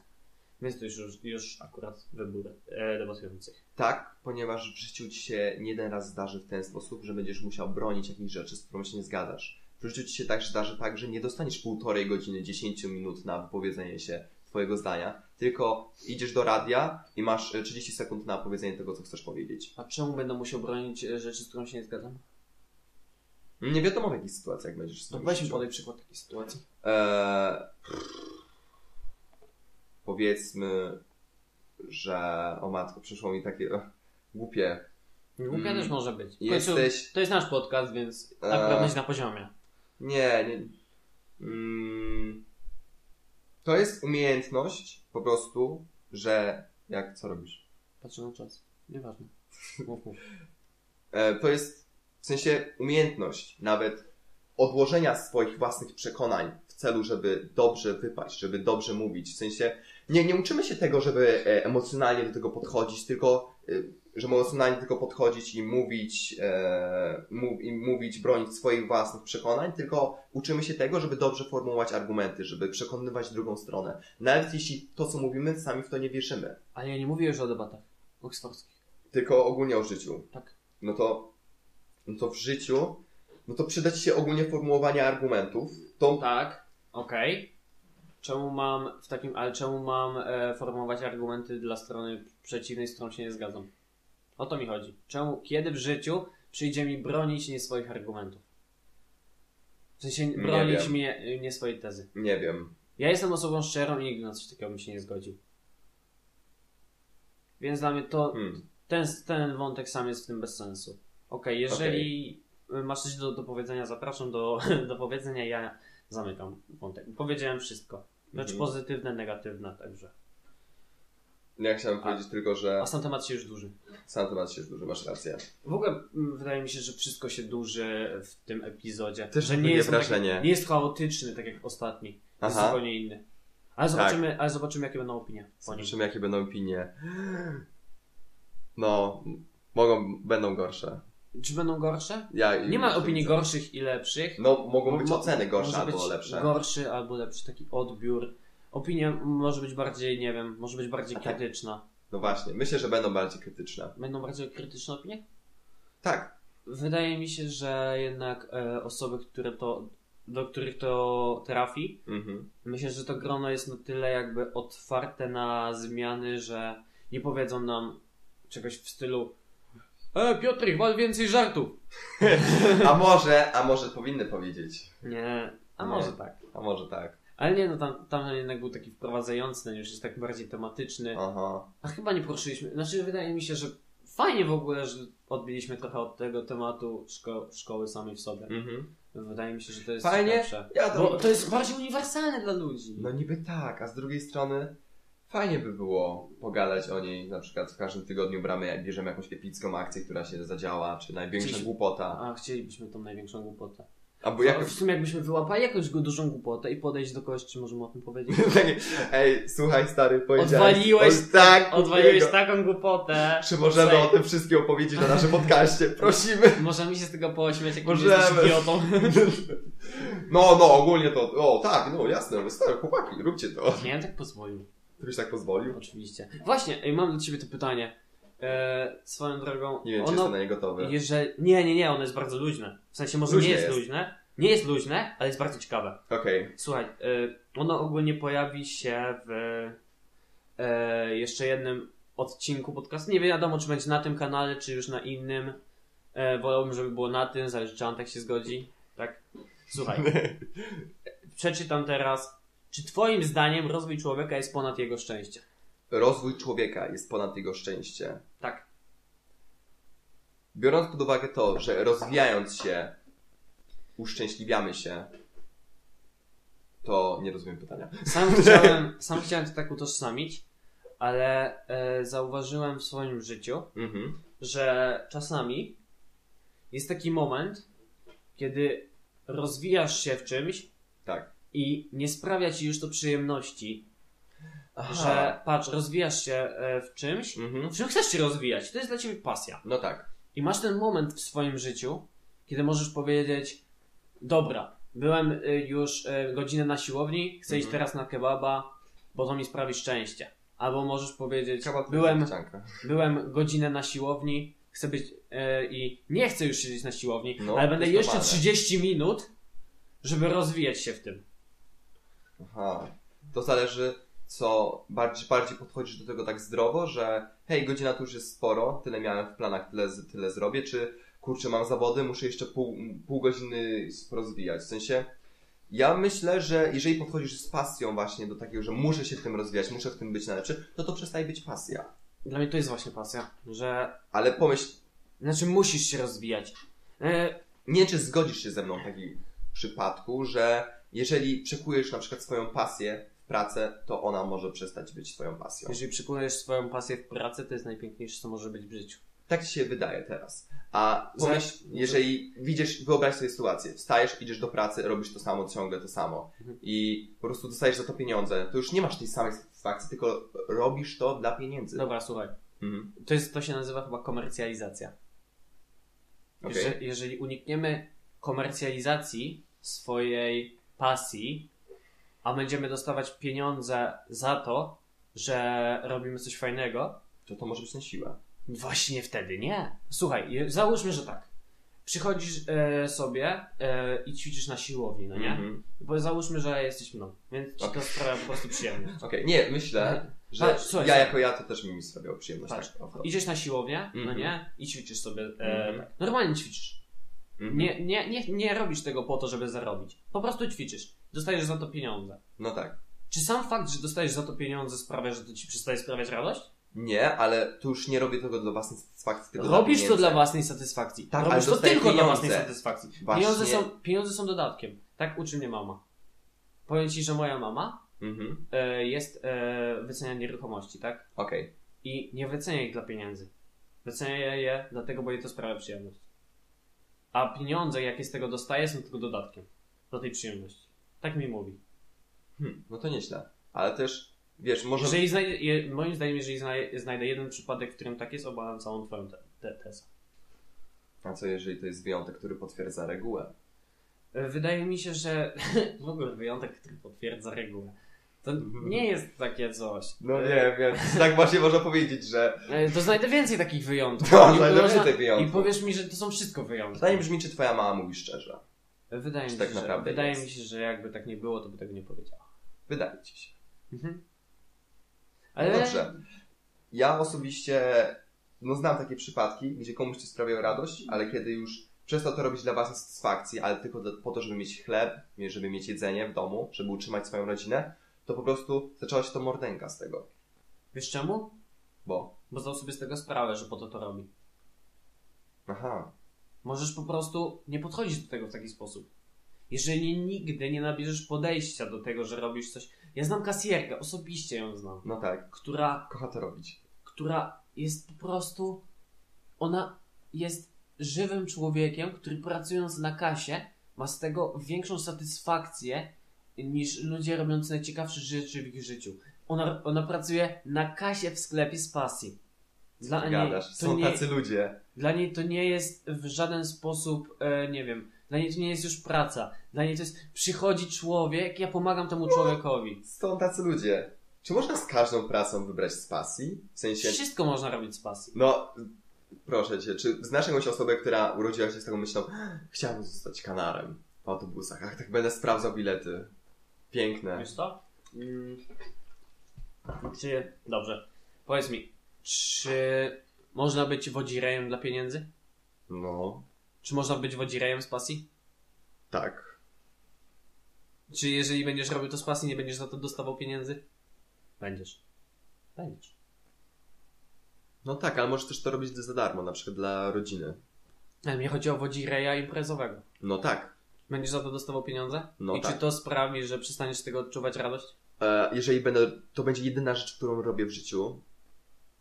Więc to już, już akurat wybór e, debatujących.
Tak, ponieważ w życiu ci się nie jeden raz zdarzy w ten sposób, że będziesz musiał bronić jakichś rzeczy, z którą się nie zgadzasz. W życiu ci się tak zdarzy tak, że nie dostaniesz półtorej godziny, 10 minut na wypowiedzenie się twojego zdania, tylko idziesz do radia i masz e, 30 sekund na powiedzenie tego, co chcesz powiedzieć.
A czemu będę musiał bronić e, rzeczy, z którą się nie zgadzam?
Nie wiadomo w jakich sytuacjach będziesz
To
sobie
weź mi podaj przykład takiej sytuacji.
Eee, powiedzmy, że... O matko, przyszło mi takie e, głupie.
Głupia
Mm.
też może być. W końcu
Jesteś...
To jest nasz podcast, więc akurat
Eee.
będzie na poziomie.
Nie, nie. Mm, to jest umiejętność po prostu, że. Jak co robisz?
Patrzę na czas. Nieważne. Mów, mów.
E, to jest w sensie umiejętność nawet odłożenia swoich własnych przekonań w celu, żeby dobrze wypaść, żeby dobrze mówić. W sensie nie, nie uczymy się tego, żeby e, emocjonalnie do tego podchodzić, tylko e, żeby emocjonalnie tylko podchodzić i mówić, e, mów, i mówić, bronić swoich własnych przekonań, tylko uczymy się tego, żeby dobrze formułować argumenty, żeby przekonywać drugą stronę. Nawet jeśli to, co mówimy, sami w to nie wierzymy,
Ale ja nie mówię już o debatach oksfordzkich.
tylko ogólnie o życiu.
Tak.
no to, no to w życiu, no to przyda ci się ogólnie formułowanie argumentów. To,
Tak, okej. Czemu mam w takim, ale czemu mam e, formować argumenty dla strony przeciwnej, z którą się nie zgadzam? O to mi chodzi. Czemu, kiedy w życiu przyjdzie mi bronić nie swoich argumentów? W sensie bronić
wiem.
mnie, e, nie swojej tezy.
nie wiem.
Ja jestem osobą szczerą i nigdy na coś takiego bym się nie zgodził. Więc dla mnie to,
Hmm.
ten, ten wątek sam jest w tym bez sensu. Okej, jeżeli masz coś do, do powiedzenia, zapraszam do, do powiedzenia, ja zamykam wątek. Powiedziałem wszystko. Rzecz
Mhm.
pozytywne, negatywne także.
No Ja chciałem
A-
powiedzieć tylko, że
A sam temat się już duży.
sam temat się duży, masz rację.
W ogóle mm, wydaje mi się, że wszystko się duży w tym epizodzie.
Też
że
takie
jest on
wrażenie.
Taki, nie jest chaotyczny, tak jak ostatni. Jest
Aha, Tak.
zupełnie inny. Ale zobaczymy, ale zobaczymy jakie będą opinie. po nim.
zobaczymy jakie będą opinie. No, mogą, będą gorsze.
Czy będą gorsze?
Ja
Nie ma
już
opinii
widzę.
gorszych i lepszych.
No, mogą być
Mo-
oceny gorsze
może
albo
być
lepsze.
Gorszy albo lepszy, taki odbiór. Opinia może być bardziej, nie wiem, może być bardziej
A tak.
krytyczna.
No właśnie, myślę, że będą bardziej krytyczne.
Będą bardziej krytyczne opinie?
Tak,
Wydaje mi się, że jednak e, osoby, które to, do których to trafi,
mhm.
myślę, że to grono jest na tyle jakby otwarte na zmiany, że nie powiedzą nam czegoś w stylu E, Piotrek, masz więcej żartów!
A może, a może powinny powiedzieć.
Nie, a
Nie.
może tak.
A może tak.
Ale nie, no tam, tam jednak był taki wprowadzający, ten już jest tak bardziej tematyczny.
Aha.
A chyba nie poruszyliśmy. Znaczy, wydaje mi się, że fajnie w ogóle, że odbiliśmy trochę od tego tematu szko- szkoły samej w sobie.
Mhm.
Wydaje mi się, że to jest
Fajnie.
ciekawsze.
Ja to-
Bo to jest bardziej uniwersalne dla ludzi.
No niby tak, a z drugiej strony fajnie by było pogadać o niej. Na przykład w każdym tygodniu bramy, jak bierzemy jakąś epicką akcję, która się zadziała, czy największa
Dziś-
głupota.
A chcielibyśmy tą największą głupotę.
Albo
A
jak...
w sumie jakbyśmy wyłapali jakąś gu- dużą głupotę i podejść do kogoś, czy możemy o tym powiedzieć?
Takie, Ej, słuchaj stary, powiedziałeś...
Odwaliłeś,
Oj, tak,
odwaliłeś
głupiego.
taką głupotę.
Czy możemy
Słuchaj.
o tym wszystkim opowiedzieć na naszym podcaście? Prosimy.
Możemy się z tego pośmiać, jak
Możemy.
jesteś idiotą.
No, no, ogólnie to... O, tak, no, jasne, no, stary, chłopaki, róbcie to.
Nie, ja tak pozwolił.
Ktoś tak pozwolił?
Oczywiście. Właśnie, ej, mam do ciebie to pytanie. Eee, swoją drogą,
Nie wiem, czy
ono
jestem na nie gotowy.
Jeżeli... Nie, nie, nie, ono jest bardzo luźne. W sensie może
Luźne
nie jest,
jest.
luźne. Nie jest luźne, ale jest bardzo ciekawe.
Okej.
Słuchaj, y, ono ogólnie pojawi się w y, jeszcze jednym odcinku podcastu. Nie wiadomo, czy będzie na tym kanale, czy już na innym. E, wolałbym, żeby było na tym, zależy czy Antek się zgodzi. Tak? Słuchaj, przeczytam teraz. Czy twoim zdaniem rozwój człowieka jest ponad jego szczęście?
Rozwój człowieka jest ponad jego szczęście.
Tak.
Biorąc pod uwagę to, że rozwijając się, uszczęśliwiamy się, to nie rozumiem pytania.
Sam chciałem, sam chciałem to tak utożsamić, ale e, zauważyłem w swoim życiu,
Mhm.
że czasami jest taki moment, kiedy rozwijasz się w czymś,
Tak.
i nie sprawia ci już to przyjemności,
Aha.
że patrz, rozwijasz się e, w czymś,
Mhm.
w czym chcesz się rozwijać. To jest dla ciebie pasja.
No tak.
I masz ten moment w swoim życiu, kiedy możesz powiedzieć: Dobra, byłem y, już y, godzinę na siłowni, chcę iść
Mhm.
teraz na kebaba, bo to mi sprawi szczęście. Albo możesz powiedzieć:
Trzeba tu
byłem,
ściankę.
byłem godzinę na siłowni, chcę być y, i nie chcę już siedzieć na siłowni,
No,
ale będę
to jest
jeszcze
normalne.
30 minut, żeby rozwijać się w tym.
Aha. To zależy, co bardziej, bardziej podchodzisz do tego tak zdrowo, że hej, godzina tu już jest sporo, tyle miałem w planach, tyle, z- tyle zrobię, czy kurczę, mam zawody, muszę jeszcze pół, pół godziny rozwijać. W sensie, ja myślę, że jeżeli podchodzisz z pasją właśnie do takiego, że muszę się w tym rozwijać, muszę w tym być najlepszy, no to to przestaje być pasja.
Dla mnie to jest właśnie pasja, że
Ale pomyśl,
znaczy musisz się rozwijać. Y,
nie czy zgodzisz się ze mną w takim przypadku, że jeżeli przekujesz na przykład swoją pasję w pracę, to ona może przestać być twoją pasją.
Jeżeli przykujesz swoją pasję w pracy, to jest najpiękniejsze, co może być w życiu.
Tak ci się wydaje teraz. A
Za-
pomyśl, jeżeli widzisz, wyobraź sobie sytuację, wstajesz, idziesz do pracy, robisz to samo, ciągle to samo
Mhm.
i po prostu dostajesz za to pieniądze, to już nie masz tej samej satysfakcji, tylko robisz to dla pieniędzy.
Dobra, słuchaj.
Mhm.
To, jest, to się nazywa chyba komercjalizacja.
Okej.
Jeżeli, jeżeli unikniemy komercjalizacji swojej pasji, a będziemy dostawać pieniądze za to, że robimy coś fajnego,
To to może być na siłę.
właśnie wtedy nie. Słuchaj, je- załóżmy, że tak. Przychodzisz e, sobie e, i ćwiczysz na siłowni, no nie?
Mhm.
Bo załóżmy, że jesteś mną, więc ci to
Okej.
sprawia po prostu przyjemność.
Okej, nie,
No.
myślę, że
Patrz, słuchaj,
ja
słuchaj.
jako ja to też mi sprawiało przyjemność.
Patrz,
Tak, off-top.
Idziesz na siłownię, no
Mhm.
nie? I ćwiczysz sobie. E,
Mhm.
tak. Normalnie ćwiczysz.
Mhm.
Nie, nie, nie, nie robisz tego po to, żeby zarobić. Po prostu ćwiczysz. Dostajesz za to pieniądze.
No tak.
Czy sam fakt, że dostajesz za to pieniądze sprawia, że to ci przestaje sprawiać radość?
Nie, ale tu już nie robię tego dla własnej satysfakcji. Tylko
Robisz
dla
to
pieniędzy.
dla własnej satysfakcji.
Tak, ale
Robisz to
dostaję
tylko dla
pieniądze.
własnej satysfakcji.
Właśnie.
Pieniądze są, pieniądze są dodatkiem. Tak uczy mnie mama. Powiem ci, że moja mama
Mhm.
e, jest e, wycenia nieruchomości, tak?
Okej.
I nie wycenia ich dla pieniędzy. Wycenia je dlatego, bo jej to sprawia przyjemność. A pieniądze, jakie z tego dostaje, są tylko dodatkiem do tej przyjemności. Tak mi mówi.
Hmm, no to nieźle. Ale też, wiesz, może...
Jeżeli znajdę, je, moim zdaniem, jeżeli znaj, znajdę jeden przypadek, w którym tak jest, obalam całą twoją te- te- tezę.
A co jeżeli to jest wyjątek, który potwierdza regułę?
E, Wydaje mi się, że w ogóle wyjątek, który potwierdza regułę. To nie jest takie coś.
No nie wiem, tak właśnie można powiedzieć, że...
E, To znajdę więcej takich wyjątków.
No,
I
znajdę
można-
więcej wyjątków.
I powiesz mi, że to są wszystko wyjątki.
Pytanie brzmi, czy twoja mama mówi szczerze.
Wydaje, mi
Czy
się,
tak
że,
naprawdę
wydaje
jest?
mi się, że jakby tak nie było, to by tego nie powiedziała.
Wydaje ci się.
Mhm.
No dobrze. Ja osobiście, no znam takie przypadki, gdzie komuś to sprawiało radość, ale kiedy już przestał to robić dla własnej satysfakcji, ale tylko dla, po to, żeby mieć chleb, żeby mieć jedzenie w domu, żeby utrzymać swoją rodzinę, to po prostu zaczęła się to mordęka z tego.
Wiesz czemu?
Bo,
Bo zdał sobie z tego sprawę, że po to to robi.
aha,
Możesz po prostu nie podchodzić do tego w taki sposób. Jeżeli nigdy nie nabierzesz podejścia do tego, że robisz coś. Ja znam kasjerkę, osobiście ją znam,
no tak,
która,
kocha to robić.
która jest po prostu. Ona jest żywym człowiekiem, który pracując na kasie ma z tego większą satysfakcję niż ludzie robiący najciekawsze rzeczy w ich życiu. Ona, ona pracuje na kasie w sklepie z pasji. Dla niej
Gadasz,
to
są
nie-
tacy ludzie.
Dla niej to nie jest w żaden sposób, e, nie wiem, dla niej to nie jest już praca. Dla niej to jest, przychodzi człowiek, ja pomagam temu człowiekowi.
Są tacy ludzie. Czy można z każdą pracą wybrać z pasji? W sensie,
Wszystko można robić z pasji.
no, proszę cię, czy znasz jakąś osobę, która urodziła się z taką myślą, chciałbym zostać kanarem w autobusach, ach, tak będę sprawdzał bilety. Piękne.
Wiesz co? Mm, czy, dobrze, powiedz mi, czy można być wodzirejem dla pieniędzy?
No,
Czy można być wodzirejem z pasji?
tak.
Czy jeżeli będziesz robił to z pasji, nie będziesz za to dostawał pieniędzy? Będziesz. Będziesz.
No tak, ale możesz też to robić za darmo, na przykład dla rodziny.
Ale mnie E, chodzi o wodzireja imprezowego.
No tak.
Będziesz za to dostawał pieniądze?
No
I
tak.
czy to sprawi, że przestaniesz z tego odczuwać radość?
E, jeżeli będę, to będzie jedyna rzecz, którą robię w życiu,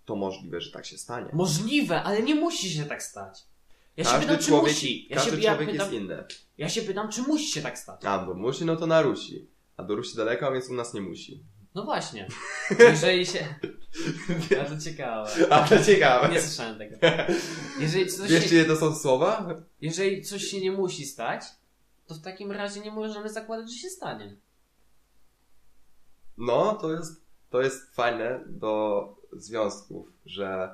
to możliwe, że tak się stanie.
Możliwe, ale nie musi się tak stać. Ja się
Każdy
pytam, czy
człowiek,
musi. Ja się,
każdy
ja,
człowiek jest
pytam,
inny.
ja się pytam, czy musi się tak stać.
A, bo musi, no to na Rusi. A do Rusi daleko, więc u nas nie musi.
No właśnie. Jeżeli się... Bardzo ciekawe.
A, to ciekawe.
Nie słyszałem tego. Jeżeli coś,
Wiesz,
się,
czyje to są słowa?
jeżeli coś się nie musi stać, to w takim razie nie możemy zakładać, że się stanie.
No, to jest, to jest fajne do związków, że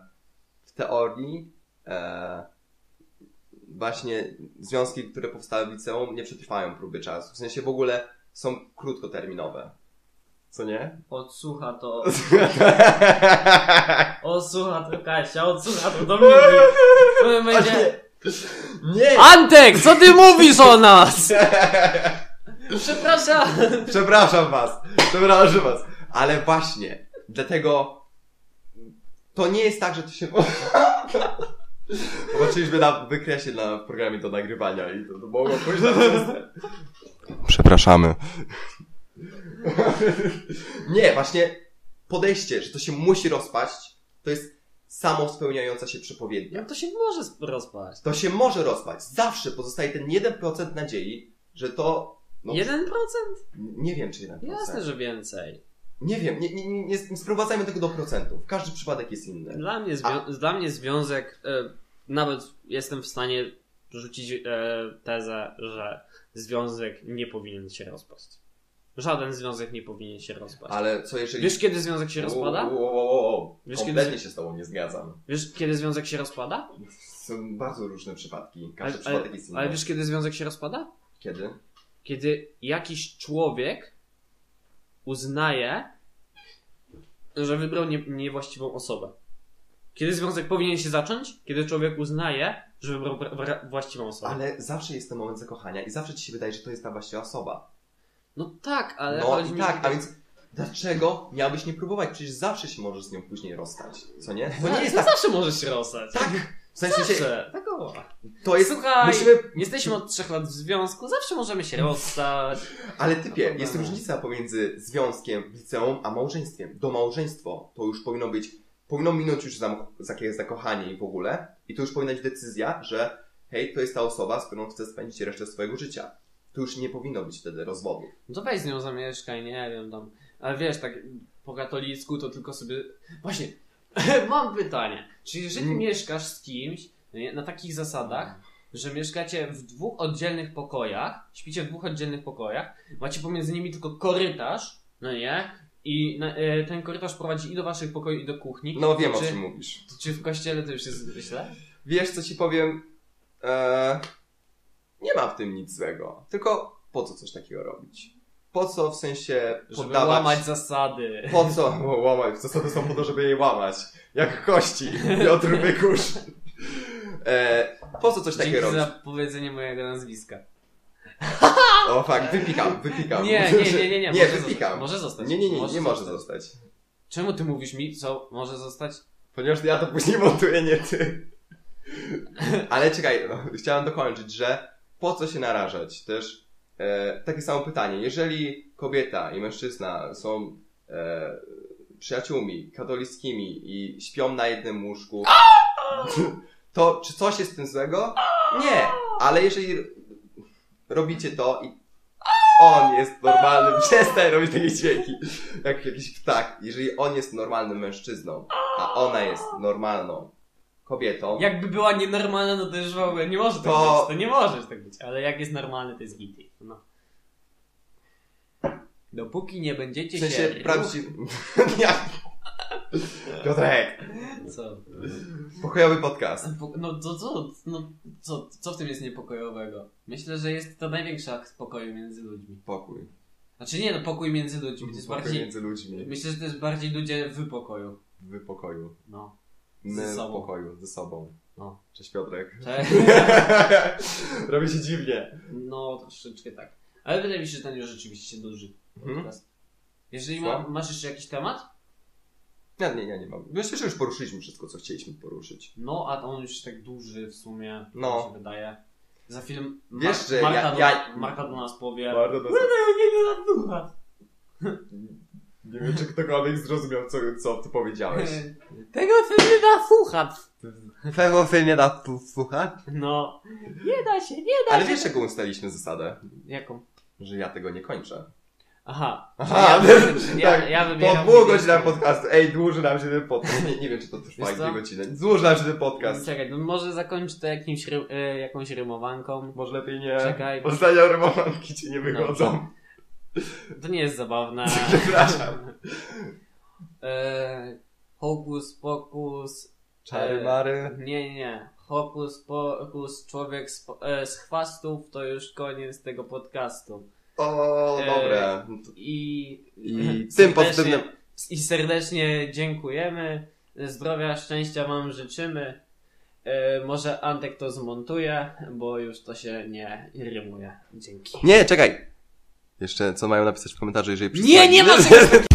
w teorii e, właśnie związki, które powstały w liceum, nie przetrwają próby czasu. W sensie w ogóle są krótkoterminowe. Co nie?
Odsłucha to... Odsłucha to Kasia, odsłucha to Dominik. My będzie...
Nie!
Antek, co ty mówisz o nas? Przepraszam.
Przepraszam was! Przepraszam was! Ale właśnie, dlatego to nie jest tak, że to się... Zobaczyliśmy na wykresie na programie do nagrywania i to, to mogło pójść na Przepraszamy. Nie, właśnie podejście, że to się musi rozpaść, to jest samo spełniająca się przepowiednia.
No to się może sp- rozpaść.
To się może rozpaść. Zawsze pozostaje ten 1% nadziei, że to... No,
1%?
nie wiem, czy 1%.
Jasne, że więcej.
Nie wiem, nie, nie, nie, nie sprowadzajmy tego do procentów. Każdy przypadek jest inny.
Dla mnie, zwią- dla mnie związek, e, nawet jestem w stanie rzucić e, tezę, że związek nie powinien się rozpaść. Żaden związek nie powinien się rozpaść.
Ale co jeżeli... No.
Wiesz kiedy związek się rozpada?
O, o, o, o.
Wiesz,
Kompletnie
kiedy-
się z tobą nie zgadzam.
Wiesz kiedy związek się rozpada?
Są bardzo różne przypadki.
Ale,
Każdy
ale,
przypadek jest inny.
ale wiesz kiedy związek się rozpada?
Kiedy?
kiedy jakiś człowiek uznaje, że wybrał nie, niewłaściwą osobę. Kiedy związek powinien się zacząć? Kiedy człowiek uznaje, że wybrał pra- pra- właściwą osobę.
Ale zawsze jest ten moment zakochania i zawsze ci się wydaje, że to jest ta właściwa osoba.
No tak, ale
no
chodzi
i
mi
tak, a więc dlaczego miałbyś nie próbować? Przecież zawsze się możesz z nią później rozstać. Co nie? To nie jest
to
tak.
zawsze możesz się rozstać.
Tak! W sensie się,
Zawsze. Tak o.
to jest...
Słuchaj,
Musimy...
jesteśmy od trzech lat w związku, zawsze możemy się rozstać.
Ale typie,
Dobra.
jest różnica pomiędzy związkiem, liceum, a małżeństwem. Do małżeństwo to już powinno być, powinno minąć już zam- takie zakochanie i w ogóle. I to już powinna być decyzja, że hej, to jest ta osoba, z którą chcę spędzić resztę swojego życia. To już nie powinno być wtedy rozwodu.
No to weź z nią zamieszkaj, nie wiem tam. Ale wiesz, tak po katolicku to tylko sobie. Właśnie, mam pytanie. Czy jeżeli
Mm.
mieszkasz z kimś no nie, na takich zasadach, że mieszkacie w dwóch oddzielnych pokojach, śpicie w dwóch oddzielnych pokojach, macie pomiędzy nimi tylko korytarz, no nie? I na, e, ten korytarz prowadzi i do waszych pokoi, i do kuchni.
No wiem
czy,
o czym mówisz.
Czy w kościele to już jest źle?
Wiesz, co ci powiem? Eee, nie ma w tym nic złego. Tylko po co coś takiego robić? Po co w sensie
Żeby
poddawać...
łamać zasady.
Po co? O, łamać. Zasady są po to, żeby jej łamać. Jak kości. Piotr Wykusz. E, po co coś takiego
Dzięki
robić?
za powiedzenie mojego nazwiska.
O fakt, wypikam, wypikam.
Nie, nie, nie, nie, nie.
Nie,
może zostać.
wypikam.
Może zostać.
Nie, nie, nie, nie może zostać.
Czemu ty mówisz mi, co może zostać?
Ponieważ ja to później montuję, nie ty. Ale czekaj, no, chciałem dokończyć, że po co się narażać? Też e, takie samo pytanie. Jeżeli kobieta i mężczyzna są e, przyjaciółmi katolickimi i śpią na jednym łóżku, to czy coś jest z tym złego? Nie, ale jeżeli robicie to i on jest normalnym, przestań robić takie dźwięki, jak jakiś ptak. Jeżeli on jest normalnym mężczyzną, a ona jest normalną kobietą,
Jakby była nienormalna, no to już w ogóle nie może tak
To-
być. To nie możesz tak być. Ale jak jest normalny, to jest gity. No. Dopóki nie będziecie
w sensie
się...
prawdziwy... Ja- Piotrek,
Co?
pokojowy podcast.
Nepo- No to co? No, co, co w tym jest niepokojowego? Myślę, że jest to największy akt pokoju między ludźmi.
Pokój.
Znaczy nie, no pokój między ludźmi. To jest
Pokój
bardziej...
między ludźmi.
Myślę, że to jest bardziej ludzie w pokoju.
W pokoju.
No.
My
Ze
w
sobą.
pokoju, ze sobą.
No.
Cześć Piotrek.
Cześć.
Robi się dziwnie.
No, troszeczkę tak. Ale wydaje mi się, że ten już rzeczywiście duży.
Mhm.
podcast. Jeżeli ma,
Co?
masz jeszcze jakiś temat,
Ja nie, ja nie mam. Myślę, że już poruszyliśmy wszystko, co chcieliśmy poruszyć.
no a on już tak duży w sumie, tak
No.
mi się wydaje. Za film
Wiesz, że
Marta,
ja-
do,
ja-
Marta do nas powie
Bardzo
Będę ją nie na ducha.
Nie wiem, czy ktokolwiek zrozumiał, co, co ty powiedziałeś.
Tego co nie da słuchać.
Pewno film nie da słuchać.
No. Nie da się, nie da
Ale
się.
wiesz, jaką ustaliliśmy zasadę?
Jaką?
Że ja tego nie kończę.
Aha.
Aha,
ja, wybieram- ja,
tak,
ja
Po
wybieram...
dwóch godzinach podcastu. Ej, dłuży nam się ten podcast. Nie, nie wiem, czy to trwa
Wiesz co?
dwie godziny. Dłuży nam się ten podcast.
Czekaj, no może zakończ to jakimś, ry- y, jakąś rymowanką.
Może lepiej nie.
Czekaj.
Ostatnio rymowanki ci nie wychodzą.
To nie jest zabawne.
Przepraszam.
E, hokus pokus.
Czary
e,
mary.
Nie, nie. Hokus pokus, człowiek z, po- e, z chwastów, to już koniec tego podcastu.
O,
e,
dobre.
I
I tym
serdecznie-
pozytywnym
I serdecznie dziękujemy. Zdrowia, szczęścia Wam życzymy. E, może Antek to zmontuje, bo już to się nie rymuje. Dzięki.
Nie, czekaj. Jeszcze co mają napisać w komentarzu, jeżeli
Nie, nie ma
czegoś